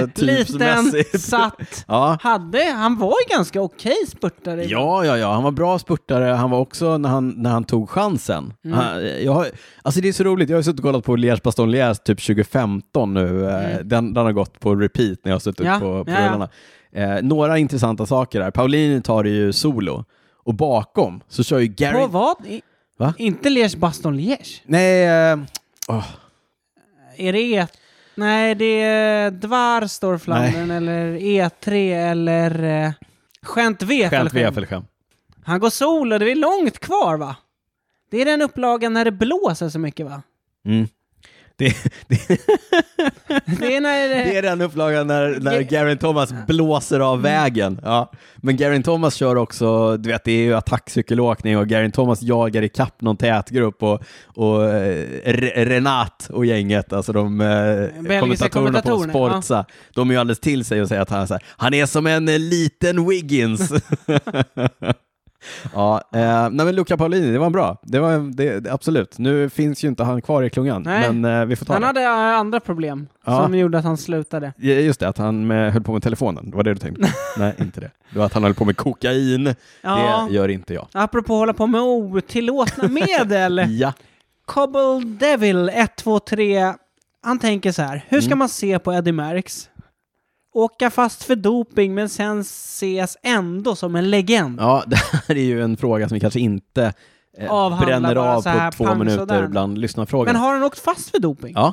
A: Liten,
B: kroppstypsmässigt...
A: satt.
B: Ja.
A: Hade, han var ju ganska okej spurtare.
B: Ja, ja, ja. Han var bra spurtare. Han var också när han, när han tog chansen.
A: Mm.
B: Han, jag har, alltså det är så roligt. Jag har ju suttit och kollat på Liège Baston Liège typ 2015 nu. Eh, Den, den har gått på repeat när jag har suttit
A: Mm. Ja,
B: på, på
A: ja, ja.
B: rullarna. Eh, några intressanta saker där. Paulini tar det ju solo. Och bakom så kör ju Gary...
A: På vad? I,
B: Va?
A: Inte Liège Baston Liège?
B: Nej, eh, åh,
A: Är det E... Nej, det är Dvarstor Flandern eller E3 eller eh, Gent
B: skämt
A: Wefelchen.
B: Wefelchen.
A: Han går solo, det är långt kvar va? Det är den upplagan när det blåser så mycket va?
B: Mm. Det, det,
A: Det är när det...
B: det är den upplagan när, när
A: Det- Mm.
B: Garin Thomas blåser av vägen. Ja. Men Garin Thomas kör också, du vet det är ju attackcykelåkning och Garin Thomas jagar i kapp någon tätgrupp och, och eh, Re- Renat och gänget, alltså de eh, kommentatorerna på
A: kommentatorerna,
B: Sportsa, de är ju alldeles till sig och säger att han är, så här, han är som en eh, liten Wiggins. Ja, eh, nej men Luca Paulini, det var bra. Det var, det, det- absolut. Nu finns ju inte han kvar i klungan,
A: Nej.
B: men eh, vi får ta
A: Han
B: det.
A: hade eh, andra problem
B: Ja.
A: som gjorde att han slutade.
B: Ja, Just det, att han eh, höll på med telefonen. Det var det du tänkte? Nej, inte det. Det var att han höll på med kokain.
A: Ja.
B: Det gör inte jag.
A: Apropå att hålla på med otillåtna medel.
B: Ja.
A: Cobble Devil 123. Han tänker så här. Hur ska
B: Mm.
A: man se på Eddie Merckx? Åka fast för doping men sen ses ändå som en legend.
B: ja, det här är ju en fråga som vi kanske inte eh,
A: Avhandla
B: bränner
A: bara
B: av
A: så här,
B: på två
A: pang,
B: minuter
A: sådär.
B: bland lyssnarfrågor.
A: Men har han åkt fast för doping?
B: Ja,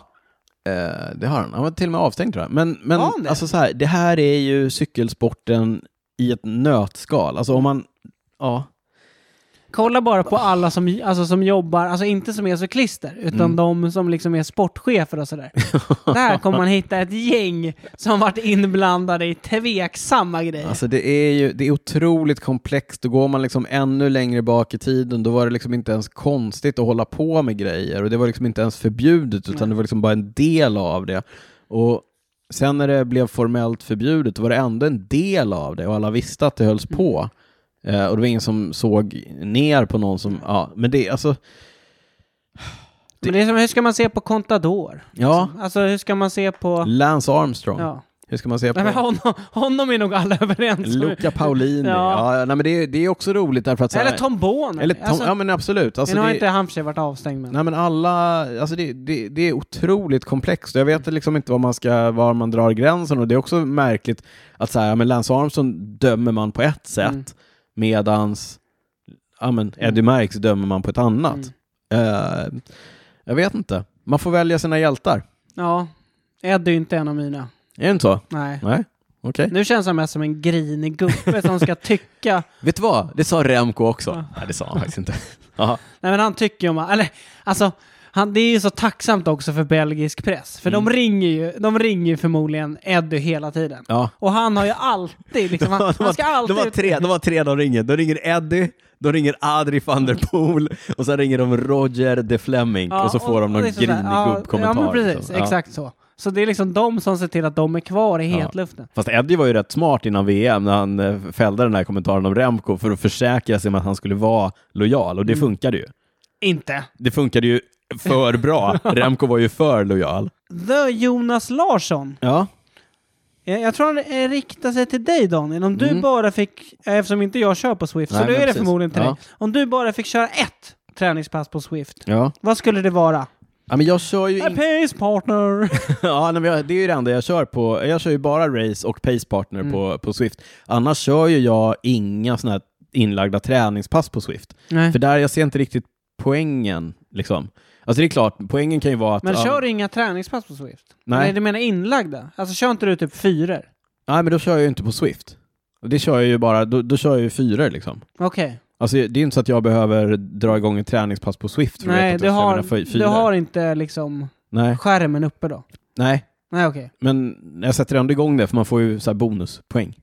B: eh, det har han. Han var till och med avstängd tror jag. Men, men
A: Var han det?
B: alltså så här, det här är ju cykelsporten i ett nötskal. Alltså om man... Ja.
A: Kolla bara på alla som, alltså, som jobbar, alltså inte som är cyklister, utan
B: Mm.
A: de som liksom är sportchefer och sådär. Där kommer man hitta ett gäng som varit inblandade i tveksamma grejer.
B: Alltså det är ju det är otroligt komplext. Då går man liksom ännu längre bak i tiden. Då var det liksom inte ens konstigt att hålla på med grejer. Och det var liksom inte ens förbjudet, utan det var liksom bara en del av det. Och sen när det blev formellt förbjudet, då var det ändå en del av det. Och alla visste att det hölls på.
A: Mm.
B: Eh, och det var ingen som såg ner på någon som... Ja, men det alltså...
A: Men det är som, hur ska man se på Contador?
B: Ja,
A: Alltså hur ska man se på...
B: Lance Armstrong.
A: Ja.
B: Hur ska man säga på
A: Nej, men
B: det?
A: honom, honom är nog alla överens om.
B: Luca Paulini.
A: Ja.
B: ja. nej, men det, är- det är också roligt därför att... så här-
A: Eller Tom Bohn.
B: Eller Tom,
A: alltså,
B: ja men absolut. Alltså,
A: nu har
B: det-
A: inte han för sig varit avstängd men...
B: Nej men alla, alltså det, det, det är otroligt komplext jag vet liksom inte var man, ska, var man drar gränsen och det är också märkligt att så här, ja, men Lance Armstrong dömer man på ett sätt
A: Mm.
B: medans ja, men Eddie Merckx dömer man på ett annat.
A: Mm.
B: Eh, jag vet inte, man får välja sina hjältar.
A: Ja. Eddie är inte en av mina.
B: Är det inte så?
A: Nej.
B: Nej, okej.
A: Nu känns han mest som en grinig gubbe som ska tycka.
B: Vet du vad? Det sa Remco också. Nej, det sa han faktiskt inte. Ja.
A: Nej men han tycker ju om... Eller alltså, han, det är ju så tacksamt också för belgisk press. För
B: Mm.
A: de ringer ju de ringer ju förmodligen Eddie hela tiden.
B: ja.
A: Och han har ju alltid... Liksom,
B: De
A: han,
B: har-
A: han ska alltid...
B: de har tre, de har tre de ringer. De ringer Eddie, de ringer Adri van der Poel och sen ringer de Roger de Fleming
A: Ja,
B: och så får de någon
A: det är så där.
B: grinig
A: Ja,
B: gubbkommentar.
A: Ja, men precis.
B: liksom. Ja.
A: Exakt så. Så det är liksom de som ser till att de är kvar i
B: Ja.
A: hetluften.
B: Fast Eddie var ju rätt smart innan VM när han eh, fällde den här kommentaren om Remco för att försäkra sig om att han skulle vara lojal
A: Mm.
B: och det funkade ju.
A: Inte.
B: Det funkade ju för bra. Remco var ju för lojal.
A: The Jonas Larsson.
B: Ja,
A: Jag, jag tror han eh, riktar sig till dig Daniel. Om du bara fick, eh, eftersom inte jag kör på Swift, så
B: Mm. Nej,
A: då
B: men
A: är det
B: precis.
A: förmodligen till
B: Ja.
A: dig. Om du bara fick köra ett träningspass på Swift,
B: ja.
A: vad skulle det vara?
B: ja men jag kör ju
A: A
B: in...
A: pace partner!
B: ja, nej, men jag, det är ju det enda jag kör på. Jag kör ju bara race och pace partner
A: Mm.
B: på, på Swift. Annars kör ju jag inga sådana här inlagda träningspass på Swift.
A: Nej.
B: För där, jag ser inte riktigt poängen liksom. Alltså det är klart, poängen kan ju vara att...
A: Men
B: ja,
A: kör du inga träningspass på Swift?
B: Nej.
A: Nej, du menar inlagda? Alltså kör inte du typ fyror?
B: Nej, men då kör jag ju inte på Swift. Det kör jag ju bara, då, då kör jag ju fyror liksom.
A: Okej.
B: Alltså det är ju inte så att jag behöver dra igång ett träningspass på typ Swift för
A: Nej,
B: att
A: du
B: veta att
A: har,
B: jag kör mina fy-
A: du
B: fyror.
A: har inte liksom
B: Nej,
A: skärmen uppe då?
B: nej,
A: Nej, okej.
B: men jag sätter ändå igång det för man får ju så här bonuspoäng.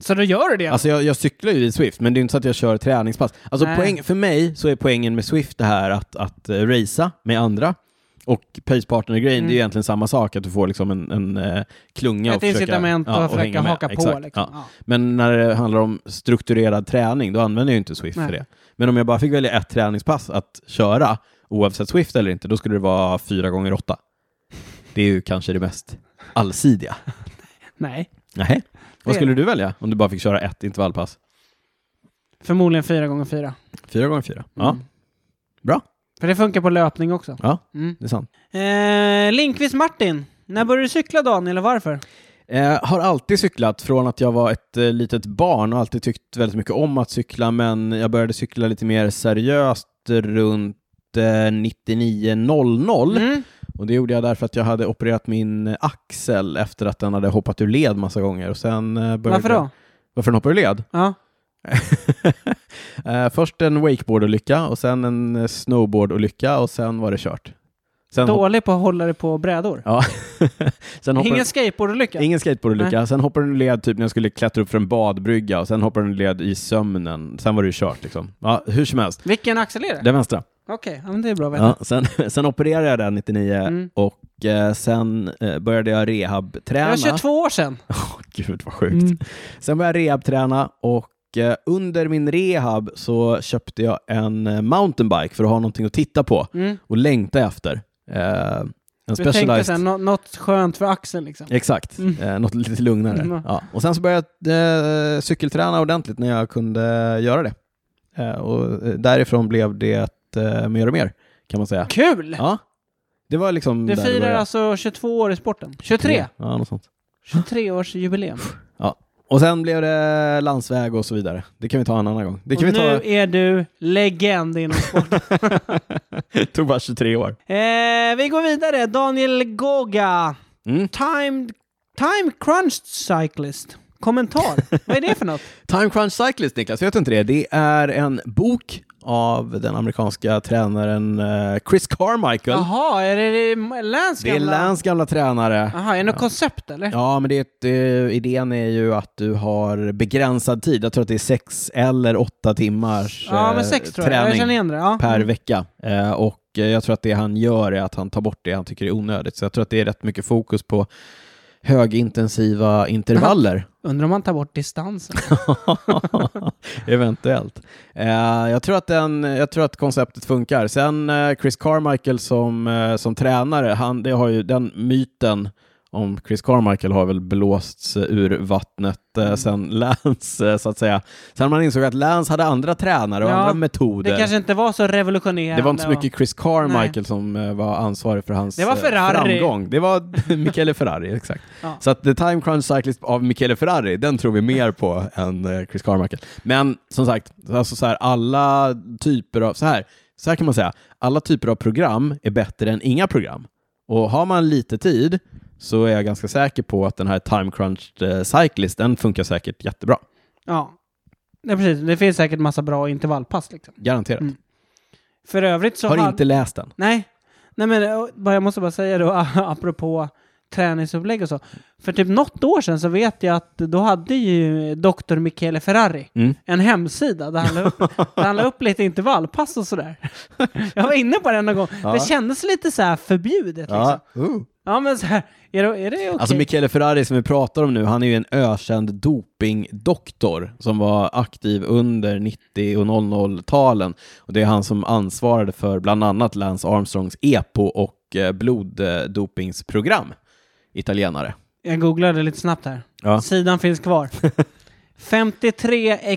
A: Så då gör du det?
B: Alltså jag, jag cyklar ju i Swift, men det är ju inte så att jag kör träningspass. Alltså
A: Nej.
B: poäng, för mig så är poängen med Swift det här att, att eh, racea med andra. Och pace partner-grejen,
A: Mm.
B: det är ju egentligen samma sak, att du får liksom en, en eh, klunga
A: Ett
B: och försöka,
A: incitament
B: ja,
A: att försöka
B: hänga med.
A: haka på
B: Exakt,
A: liksom.
B: ja.
A: Ja.
B: Men när det handlar om strukturerad träning, då använder jag ju inte Swift
A: Nej.
B: för det. Men om jag bara fick välja ett träningspass att köra, oavsett Swift eller inte, då skulle det vara fyra gånger åtta. Det är ju kanske det mest allsidiga.
A: Nej,
B: Nej.
A: Det är
B: Vad skulle du välja om du bara fick köra ett intervallpass?
A: förmodligen fyra gånger fyra.
B: Fyra gånger fyra? Ja,
A: Mm.
B: Bra.
A: För det funkar på löpning också.
B: Ja.
A: Mm.
B: det är sant.
A: Eh, Linkvist Martin, när började du cykla Daniel och varför?
B: Eh, har alltid cyklat från att jag var ett eh, litet barn och alltid tyckt väldigt mycket om att cykla, men jag började cykla lite mer seriöst runt eh, 99.00.
A: Mm.
B: Och det gjorde jag därför att jag hade opererat min axel efter att den hade hoppat ur led massa gånger. Och sen eh, började
A: Varför då?
B: Varför den hoppade ur led?
A: Ja.
B: Eh, Först en wakeboardolycka och sen en eh, snowboardolycka och sen var det kört. Sen, hop-
A: Dålig på att hålla dig på brädor.
B: ja. sen hoppade
A: Ingen skateboardolycka?
B: Ingen skateboardolycka. Sen hoppade den ur led typ när jag skulle klättra upp för en badbrygga och sen hoppade den ur led i sömnen. Sen var det ju kört liksom. Ja, hur som helst.
A: Vilken axel är det?
B: Den vänstra.
A: Okej, ja, men det är bra att veta.
B: Ja, sen, sen opererade jag den 99
A: Mm.
B: och eh, sen eh, började jag
A: Jag
B: rehabträna.
A: var 22 år sedan. Mm.
B: Åh, Gud vad sjukt. Sen började jag rehabträna och eh, under min rehab så köpte jag en eh, mountainbike för att ha någonting att titta på
A: Mm.
B: och längta efter. Eh, en
A: Du tänkte
B: specialized.
A: sen nå- något skönt för axeln liksom.
B: Exakt,
A: Mm.
B: eh, något lite lugnare.
A: Mm.
B: Ja. Och sen så började jag eh, cykelträna ordentligt när jag kunde göra det. Eh, och eh, därifrån blev det eh, mer och mer, kan man säga.
A: Kul!
B: Ja. Det var liksom...
A: Du
B: där det
A: firar
B: började.
A: alltså 22 år i sporten? 23?
B: Ja, något sånt.
A: 23 års jubileum.
B: Och sen blev det landsväg och så vidare. Det kan vi ta en annan gång. Det kan
A: och
B: vi ta...
A: nu är du legend inom sport.
B: tog bara 23 år.
A: eh, vi går vidare. Daniel Goga.
B: Mm.
A: Time, time crunched cyclist. Kommentar. Vad är det för något?
B: Time Crunch Cyclist, Niklas, vet du inte det? Det är en bok av den amerikanska tränaren eh, Chris Carmichael.
A: Jaha, är det Lans
B: det är Lans gamla tränare.
A: Jaha, är det något koncept eller?
B: Ja, men det är ett, eh, idén är ju att du har begränsad tid. Jag tror att det är sex eller åtta timmars
A: Ja,
B: eh,
A: men sex tror jag. Jag
B: träning
A: känner igen Mm. det. Ja.
B: per vecka. Eh, och eh, jag tror att det han gör är att han tar bort det han tycker är onödigt. Så jag tror att det är rätt mycket fokus på högintensiva intervaller.
A: Undrar om man tar bort distansen.
B: Eventuellt. Eh, jag, tror att den, jag tror att konceptet funkar. Sen eh, Chris Carmichael som, eh, som tränare, han, det har ju den myten om Chris Carmichael har väl blåsts eh, ur vattnet
A: Mm.
B: eh, sen Lance, eh, så att säga. Sen man insåg att Lance hade andra tränare och
A: Ja,
B: andra
A: Det
B: metoder.
A: kanske inte var så revolutionerande.
B: Det var inte så
A: och-
B: mycket Chris Carmichael
A: Nej.
B: som eh, var ansvarig för hans
A: Det var
B: eh,
A: Ferrari.
B: framgång. Det var Michele Ferrari, exakt.
A: Ja.
B: Så att The Time Crunch Cyclist av Michele Ferrari, den tror vi mer på än eh, Chris Carmichael. Men som sagt, alltså så här, alla typer av, så här, så här kan man säga, alla typer av program är bättre än inga program. Och har man lite tid så är jag ganska säker på att den här Time Crunch eh, Cyclist, den funkar säkert jättebra.
A: Ja. Nej, precis. Det finns säkert massa bra intervallpass liksom.
B: Garanterat.
A: Mm. För övrigt så
B: Har
A: hade-
B: inte läst den.
A: Nej. Nej men eh, bara- jag måste bara säga då apropå träningsupplägg och så. För typ något år sedan så vet jag att då hade ju Dr. Michele Ferrari
B: Mm.
A: en hemsida där han, la upp, där han la upp lite intervallpass och sådär. Jag var inne på den någon gång.
B: Ja.
A: Det kändes lite så här förbjudet liksom.
B: Ja. Uh.
A: Ja men så här, är det, är det okej?
B: Alltså Michele Ferrari som vi pratar om nu, han är ju en ökänd dopingdoktor som var aktiv under 90 och 00-talen. Och det är han som ansvarade för bland annat Lance Armstrongs EPO och eh, bloddopingsprogram. Italienare.
A: Jag googlade lite snabbt här.
B: Ja.
A: Sidan finns kvar.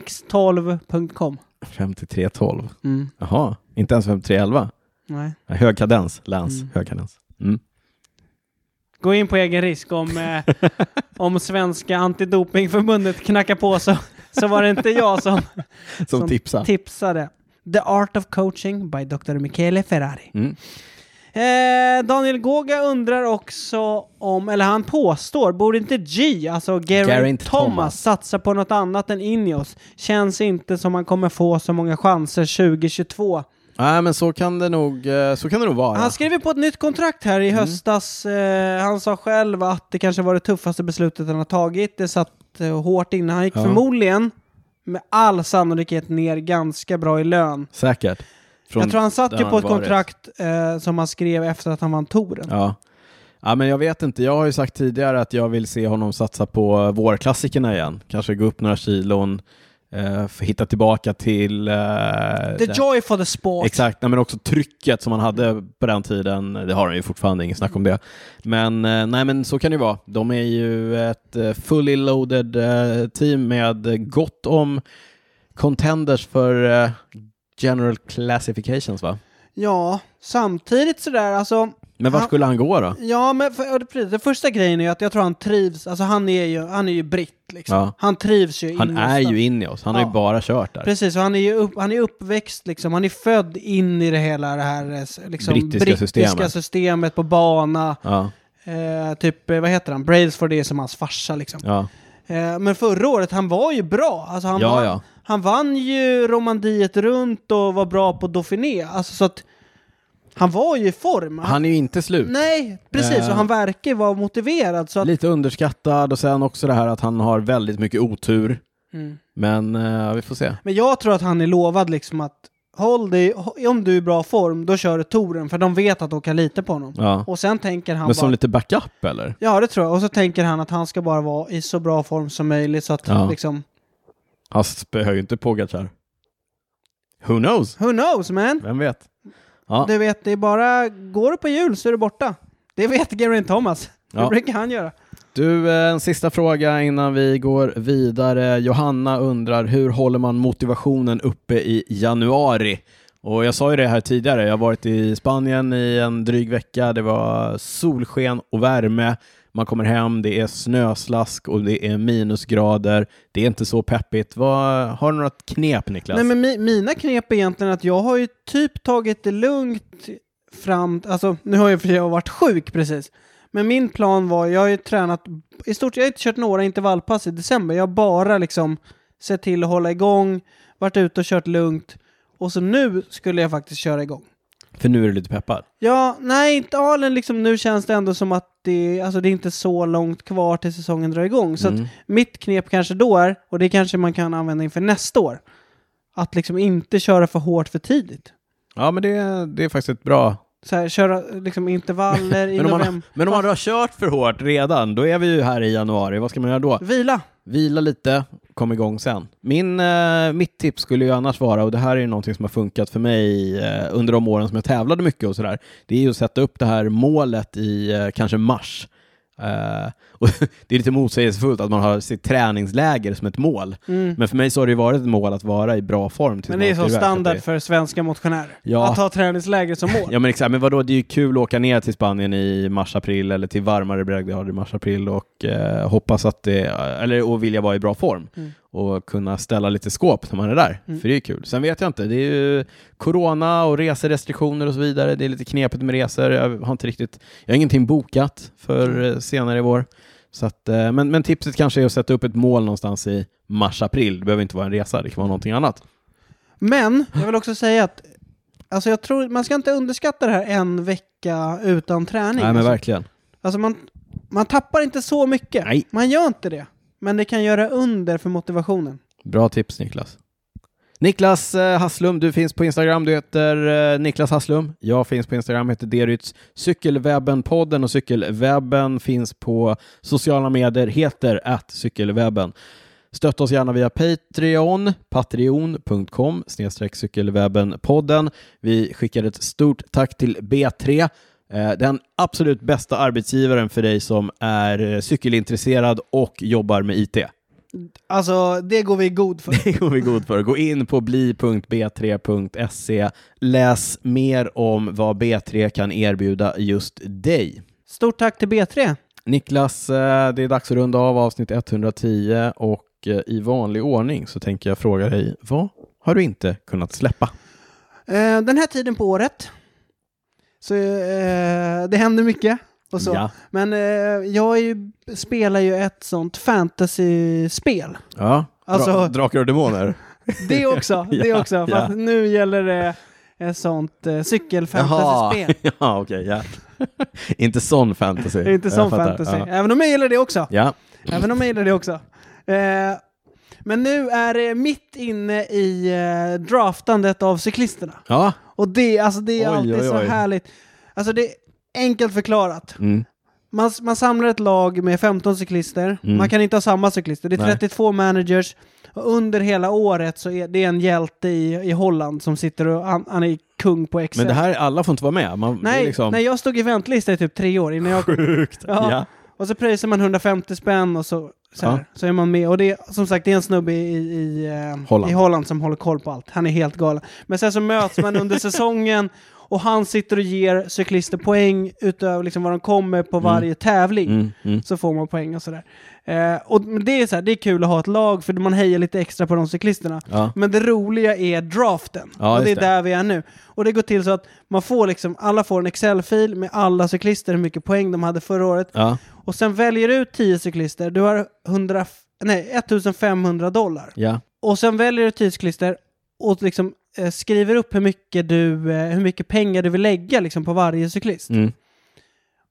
A: 53x12.com.
B: 5312.
A: Mm.
B: Jaha, inte ens 5311.
A: Nej.
B: Ja, Hög kadens, Lance. Hög kadens. Mm.
A: Gå in på egen risk om, eh, om svenska antidopingförbundet knackar på så, så var det inte jag som,
B: Som, tipsar.
A: tipsade. The Art of Coaching by Dr. Michele Ferrari.
B: Mm.
A: Eh, Daniel Goga undrar också om, eller han påstår, borde inte G, alltså Geraint,
B: Geraint
A: Thomas,
B: Thomas.
A: satsa på något annat än Ineos? Känns inte som han kommer få så många chanser 2022.
B: Nej, men så kan det nog, eh, så kan det nog vara.
A: Han skrev ju på ett nytt kontrakt här i
B: Mm.
A: höstas. Eh, han sa själv att det kanske var det tuffaste beslutet han har tagit. Det satt eh, hårt inne. Han gick
B: Ja.
A: förmodligen med all sannolikhet ner ganska bra i lön.
B: Säkert. Från
A: jag tror han satt
B: där
A: ju på ett
B: varit.
A: kontrakt eh, som han skrev efter att han vann touren.
B: Ja. ja, men jag vet inte. Jag har ju sagt tidigare att jag vill se honom satsa på vårklassikerna igen. Kanske gå upp några kilon, eh, f- hitta tillbaka till... Eh,
A: The
B: det-
A: joy for the sport.
B: Exakt, nej, men också trycket som han hade på den tiden. Det har han ju fortfarande, ingen snack om det. Men, eh, nej, men så kan det ju vara. De är ju ett eh, fully loaded eh, team med eh, gott om contenders för eh, general classifications va?
A: Ja, samtidigt sådär alltså.
B: Men vart
A: Ja.
B: skulle han gå då?
A: Ja, men för, ja, det- precis. den första grejen är ju att jag tror han trivs. Alltså han är ju, han är ju britt liksom.
B: Ja.
A: Han trivs ju
B: Han
A: in i
B: är
A: stan.
B: ju inne i oss, han har
A: Ja.
B: ju bara kört där.
A: Precis, och han är ju upp, han är uppväxt liksom. Han är född in i det hela det här eh, s- liksom,
B: Brittiska systemet.
A: systemet på bana.
B: Ja,
A: Eh, typ, eh, vad heter han? Brailsford är som hans farsa liksom.
B: ja.
A: Eh, men förra året, han var ju bra. Alltså, han,
B: Ja,
A: vann,
B: ja.
A: han vann ju Romandiet runt och var bra på Dauphiné. Alltså, så att han var ju i form. Han,
B: Han är ju inte slut.
A: nej, precis.
B: Eh.
A: Och han verkar ju vara motiverad. Så att,
B: Lite underskattad och sen också det här att han har väldigt mycket otur.
A: Mm.
B: Men eh, vi får se.
A: Men jag tror att han är lovad liksom att håll dig, om du är i bra form, då kör du touren. För de vet att de kan lita på honom.
B: Ja.
A: Och sen tänker han
B: Men som
A: bara...
B: lite backup eller?
A: Ja, det tror jag. Och så tänker han att han ska bara vara i så bra form som möjligt så att
B: Ja.
A: liksom...
B: Han spöar ju inte Pogacar. Who knows?
A: Who knows man?
B: Vem vet? Ja.
A: Du vet, det är bara... Går du på jul så är du borta. Det vet Geraint Thomas. Det
B: Ja.
A: brukar han göra.
B: Du, eh, en sista fråga innan vi går vidare. Johanna undrar, hur håller man motivationen uppe i januari? Och jag sa ju det här tidigare, jag har varit i Spanien i en dryg vecka, det var solsken och värme, man kommer hem, det är snöslask och det är minusgrader, det är inte så peppigt. Vad, har du några knep Niklas?
A: Nej, men mi mina knep är egentligen att jag har ju typ tagit det lugnt fram... Alltså, nu har jag för jag har varit sjuk precis. Men min plan var, jag har ju tränat... I stort jag har inte kört några intervallpass i december. Jag har bara liksom sett till att hålla igång, varit ute och kört lugnt. Och så nu skulle jag faktiskt köra igång.
B: För nu är du lite peppad.
A: Ja, nej, inte Alen liksom, nu känns det ändå som att det, alltså, det är inte så långt kvar till säsongen drar igång. Så
B: Mm.
A: att mitt knep kanske då är, och det kanske man kan använda inför nästa år, att liksom inte köra för hårt för tidigt.
B: Ja, men det, det är faktiskt ett bra
A: Så här, köra liksom intervaller i
B: men om, man,
A: november.
B: men om man har kört för hårt redan, då är vi ju här i januari. Vad ska man göra då?
A: Vila.
B: Vila lite, kom igång sen. Min, eh, mitt tips skulle ju annars vara, och det här är ju någonting som har funkat för mig eh, under de åren som jag tävlade mycket och sådär, det är ju att sätta upp det här målet i eh, kanske mars. Eh, och det är lite motsägelsefullt att man har sitt träningsläger som ett mål.
A: Mm.
B: Men för mig så har det ju varit ett mål att vara i bra form. tills
A: Men det är
B: man
A: så
B: skriver här, att
A: standard
B: det-
A: för svenska motionärer.
B: Ja.
A: Att ha träningsläger som mål.
B: Ja men exakt, men vadå, det är ju kul att åka ner till Spanien i mars-april eller till varmare breddgrader i mars-april och eh, hoppas att det, eller och vilja vara i bra form
A: Mm.
B: och kunna ställa lite skåp när man är där,
A: Mm.
B: för det är ju kul. Sen vet jag inte, det är ju corona och reserestriktioner och så vidare, det är lite knepigt med resor, jag har inte riktigt, jag har ingenting bokat för
A: Mm.
B: eh, senare i vår. Så att, eh, men, men tipset kanske är att sätta upp ett mål någonstans i mars-april, det behöver inte vara en resa, det kan vara någonting annat.
A: Men jag vill också säga att alltså, jag tror, man ska inte underskatta det här en vecka utan träning.
B: Nej men
A: Alltså,
B: verkligen.
A: Alltså man, Man tappar inte så mycket.
B: Nej.
A: Man gör inte det. Men det kan göra under för motivationen.
B: Bra tips Niklas. Niklas eh, Hasslum, du finns på Instagram, du heter eh, Niklas Hasslum. Jag finns på Instagram, heter Derytz. Cykelwebben-podden och Cykelwebben finns på sociala medier, heter att cykelwebben. Stötta oss gärna via Patreon, patreon.com snedstreck cykelwebben-podden. Vi skickar ett stort tack till B3, eh, den absolut bästa arbetsgivaren för dig som är eh, cykelintresserad och jobbar med IT.
A: Alltså, det går vi i god för.
B: Det går vi god för. Gå in på bli.b3.se. Läs mer om vad B3 kan erbjuda just dig.
A: Stort tack till B3.
B: Niklas, eh, det är dags att runda av avsnitt 110 och eh, i vanlig ordning så tänker jag fråga dig, vad har du inte kunnat släppa?
A: Eh, den här tiden på året, så eh, det händer mycket. Och så.
B: Ja.
A: Men eh, jag är ju, spelar ju ett sånt fantasy-spel.
B: Ja,
A: Alltså-
B: drakar och demoner.
A: Det också, det
B: Ja,
A: också.
B: ja.
A: Fast nu gäller det ett sånt eh, cykelfantasyspel.
B: ja okej, ja. inte sån fantasy.
A: Det är inte
B: Jag
A: sån
B: fattar,
A: fantasy.
B: Ja.
A: Även om jag gillar det också.
B: ja.
A: Även om jag gillar det också. Eh, men nu är det mitt inne i eh, draftandet av cyklisterna.
B: ja.
A: Och det, alltså det är
B: Oj,
A: alltid
B: oj,
A: så
B: oj.
A: härligt. Alltså det är enkelt förklarat.
B: Mm.
A: Man, man samlar ett lag med 15 cyklister.
B: Mm.
A: Man kan inte ha samma cyklister. Det är
B: Nej.
A: 32 managers. Och under hela året så är det en hjälte i, i Holland som sitter och han, han är kung på Excel.
B: Men det här, alla får inte vara med. Man, det
A: nej,
B: är liksom...
A: nej, jag stod i väntlista i typ tre år innan jag kom.
B: Sjukt.
A: Ja.
B: Ja.
A: Och så pröjsar man 150 spänn och så, så, här, så är man med. Och det är som sagt det är en snubbe i, i, eh,
B: Holland.
A: i Holland som håller koll på allt. Han är helt galen. Men sen så möts man under säsongen och han sitter och ger cyklister poäng utöver liksom vad de kommer på varje tävling.
B: Mm, mm.
A: Så får man poäng och sådär. Eh, och men det är, så här, det är kul att ha ett lag för man hejar lite extra på de cyklisterna.
B: Ja.
A: Men det roliga är draften.
B: Ja,
A: och det är
B: just det.
A: där vi är nu. Och det går till så att man får liksom, alla får en Excel-fil med alla cyklister, hur mycket poäng de hade förra året.
B: Ja.
A: Och sen väljer du ut 10 cyklister, du har 100, nej, 1500 dollar.
B: Ja.
A: Och sen väljer du 10 cyklister och liksom, eh, skriver upp hur mycket, du, eh, hur mycket pengar du vill lägga liksom, på varje cyklist.
B: Mm.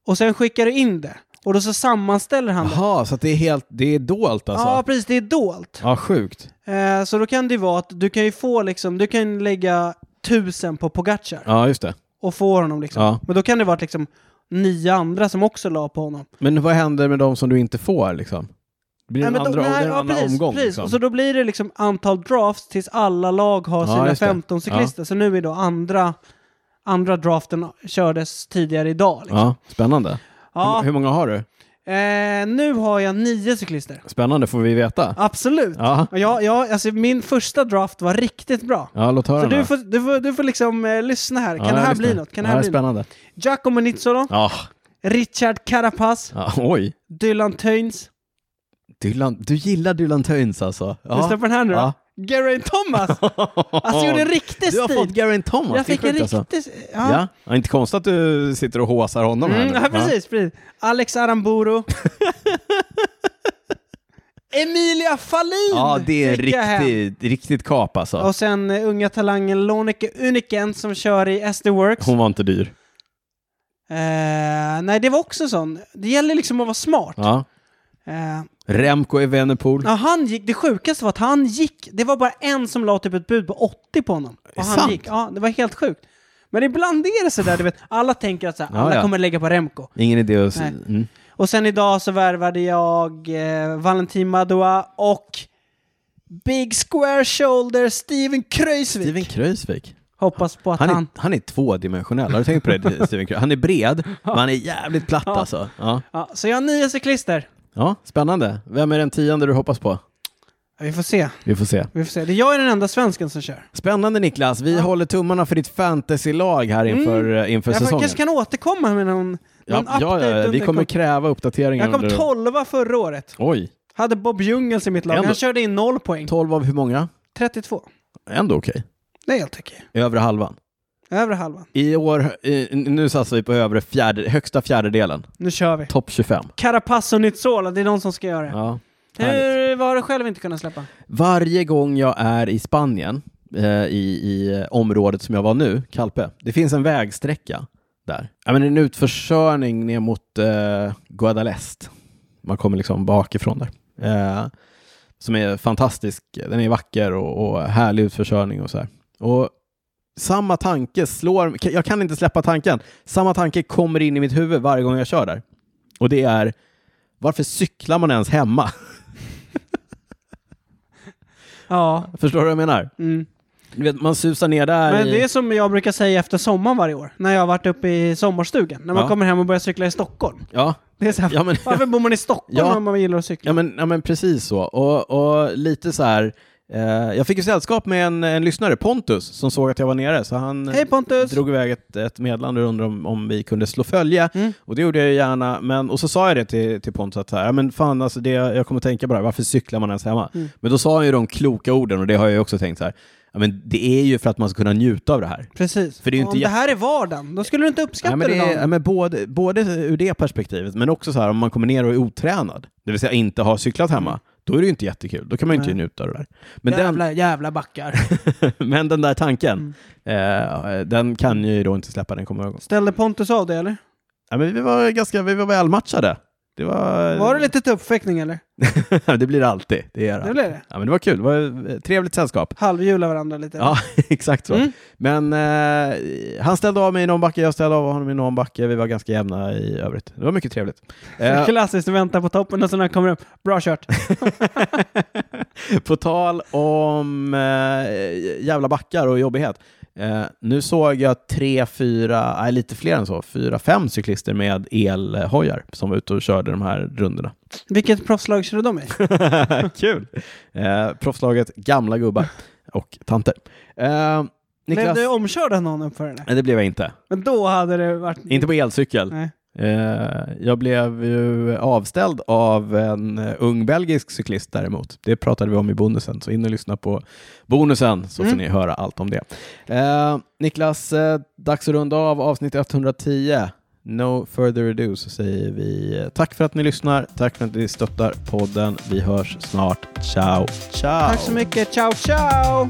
A: Och sen skickar du in det. Och då så sammanställer han det.
B: Jaha, så att det är helt, det är dolt alltså?
A: Ja, precis. Det är dolt.
B: Ja, sjukt.
A: Eh, så då kan det vara att du kan ju få liksom, du kan lägga tusen på Pogacar
B: Ja, just det.
A: och få honom liksom.
B: Ja.
A: Men då kan det vara att, liksom nio andra som också la på honom.
B: Men vad händer med de som du inte får liksom? Blir det en
A: Nej, men
B: andra,
A: de- nej,
B: det är en
A: ja,
B: annan
A: precis,
B: omgång?
A: precis.
B: Liksom?
A: Och så då blir det liksom antal drafts tills alla lag har
B: Ja,
A: sina
B: just det.
A: 15 cyklister. Så nu är då andra, andra draften kördes tidigare idag. Liksom.
B: Ja, spännande.
A: Ja.
B: Hur, hur många har du?
A: Eh, nu har jag nio cyklister.
B: Spännande får vi veta.
A: Absolut.
B: Ja,
A: Och jag, jag, alltså, min första draft var riktigt bra.
B: ja låt höra
A: Så du
B: nu.
A: får, du, får, du får liksom eh, lyssna här. Kan
B: ja,
A: det
B: jag
A: här
B: lyssnar.
A: bli något? Kan det
B: ja,
A: här
B: det är
A: bli något?
B: spännande.
A: Giacomo Nizzolo,
B: Ja,
A: Richard Carapaz,
B: ja, oj.
A: Dylan Töns.
B: Dylan, du gillar Dylan Töns alltså? Ja.
A: Lyssna på den här nu
B: Ja.
A: då. Geraint Thomas! Alltså gjorde en riktig
B: Du har fått
A: stil.
B: Geraint Thomas,
A: Jag fick
B: det är
A: en
B: sjukt alltså.
A: riktig... Ja.
B: Ja. ja, inte konstigt att du sitter och håsar honom här
A: Mm,
B: nu.
A: ja, precis, precis. Alex Aramburu. Emilia Fahlin!
B: Ja, det är en
A: fick jag hem.
B: riktigt, riktigt kap alltså.
A: Och sen eh, unga talangen Lonike Uniken som kör i SD Works.
B: Hon var inte dyr.
A: Eh, nej, det var också sån. Det gäller liksom att vara smart.
B: Ja.
A: Eh,
B: Remco Evenepoel.
A: ja, han gick, det sjukaste var att han gick. Det var bara en som la typ ett bud på 80 på honom.
B: det
A: Och han
B: sant?
A: gick. Ja, det var helt sjukt. Men ibland är det sådär, du vet. Alla tänker att så här,
B: Ja,
A: alla
B: ja.
A: kommer lägga på Remco.
B: Ingen idé att...
A: Nej.
B: Mm.
A: Och sen idag så värvade jag eh, Valentin Madoua och Big Square Shoulder Steven Kreuzvik.
B: Steven Kreuzvik.
A: Hoppas på att
B: Han
A: han...
B: är, han är tvådimensionell. Har du tänkt på det, Steven Kreuzvik? Han är bred, men han är jävligt platt alltså. Ja.
A: Ja, så jag har nio cyklister.
B: ja, spännande. Vem är den tionde du hoppas på?
A: Ja, vi får se.
B: Vi får se.
A: Vi får se. Det- Jag är den enda svensken som kör.
B: Spännande Niklas. Vi håller tummarna för ditt fantasylag här inför, eh, inför
A: Mm. Jag
B: säsongen.
A: kanske kan återkomma med någon, någon
B: ja,
A: update.
B: ja, ja, vi
A: under-
B: kommer kräva uppdateringar.
A: jag kom
B: under-
A: tolva förra året.
B: Oj,
A: Hade Bob Jungels i mitt lag.
B: Ändå.
A: Han körde in noll poäng.
B: 12 av hur många?
A: 32.
B: Ändå okej.
A: Det är helt okej.
B: Övre halvan.
A: Övre halvan.
B: I år, i, nu satsar vi på övre fjärde, högsta fjärdedelen.
A: Nu kör vi.
B: Topp 25.
A: Carapaz och Nizzola, det är de som ska göra det.
B: Ja. härligt.
A: Hur, vad har du själv inte kunnat släppa?
B: Varje gång jag är i Spanien, eh, i, i eh, området som jag var nu, Calpe, det finns en vägsträcka där? Ja, men en utförskörning ner mot eh, Guadalest. Man kommer liksom bakifrån där. Eh, som är fantastisk. Den är vacker och, och härlig utförskörning och så här. Och samma tanke slår, jag kan inte släppa tanken, samma tanke kommer in i mitt huvud varje gång jag kör där. Och det är, varför cyklar man ens hemma?
A: Ja.
B: Förstår du vad jag menar?
A: Mm.
B: Du vet, man susar ner där
A: Men det
B: i...
A: är som jag brukar säga efter sommaren varje år, när jag har varit uppe i sommarstugan. När man
B: Ja.
A: kommer hem och börjar cykla i Stockholm.
B: Ja,
A: Det är så här,
B: Ja, men-
A: varför bor man i Stockholm
B: Ja.
A: om man gillar att cykla?
B: ja, men, ja men precis så. Och, och lite så här, eh, jag fick ju sällskap med en, en lyssnare, Pontus, som såg att jag var nere, så han
A: Hej Pontus!
B: drog iväg ett, ett meddelande och undrade om, om vi kunde slå följe.
A: Mm.
B: Och det gjorde jag ju gärna, men, och så sa jag det till, till Pontus att så här, ja, men fan, alltså det, jag kommer tänka på det här, varför cyklar man ens hemma?
A: Mm.
B: Men då sa han ju de kloka orden och det har jag ju också tänkt så här, ja, men det är ju för att man ska kunna njuta av det här.
A: Precis.
B: För det är ju inte
A: om det
B: jätte-
A: här är vardagen, då skulle du inte
B: Ja,
A: uppskatta
B: men
A: det.
B: det är,
A: Dan.
B: ja, men både, både ur det perspektivet, men också så här om man kommer ner och är otränad, det vill säga inte har cyklat hemma, då är det ju inte jättekul. Då kan man ju inte
A: Mm. Nej.
B: njuta av det där. Men, den,
A: jävla, jävla backar.
B: men den där tanken,
A: Mm.
B: eh, den kan ju då inte släppa. Den kommer att...
A: Ställde Pontus av det eller?
B: ja, men vi var ganska vi var välmatchade. Det var,
A: Var det lite tuppfäktning eller?
B: det blir det alltid. Det, är
A: Det
B: det.
A: blev det.
B: Ja, men det var kul. Det var ett trevligt sällskap.
A: Halvhjula varandra lite.
B: Ja, exakt så.
A: Mm.
B: Men eh, han ställde av mig i någon backe, jag ställde av honom i någon backe. Vi var ganska jämna i övrigt. Det var mycket trevligt. Eh,
A: Klassiskt, du väntar på toppen och så när han kommer upp, bra kört.
B: På tal om eh, jävla backar och jobbighet. Eh, nu såg jag tre, fyra, nej lite fler än så, fyra, fem cyklister med elhojar som var ute och körde de här rundorna.
A: Vilket proffslag körde de i?
B: Kul! Eh, proffslaget gamla gubbar och tanter. Eh,
A: Blev
B: Niklas,
A: du omkörd av någon uppför den?
B: nej det blev jag inte.
A: Men då hade det varit...
B: Inte på elcykel.
A: Nej.
B: Eh, jag blev ju avställd av en eh, ung belgisk cyklist däremot. Det pratade vi om i bonusen, så in och lyssna på bonusen så
A: Mm.
B: får ni höra allt om det. Eh, Niklas, eh, dags att runda av avsnitt 110. No further ado så säger vi eh, tack för att ni lyssnar, tack för att ni stöttar podden. Vi hörs snart. Ciao, ciao!
A: Tack så mycket, ciao ciao!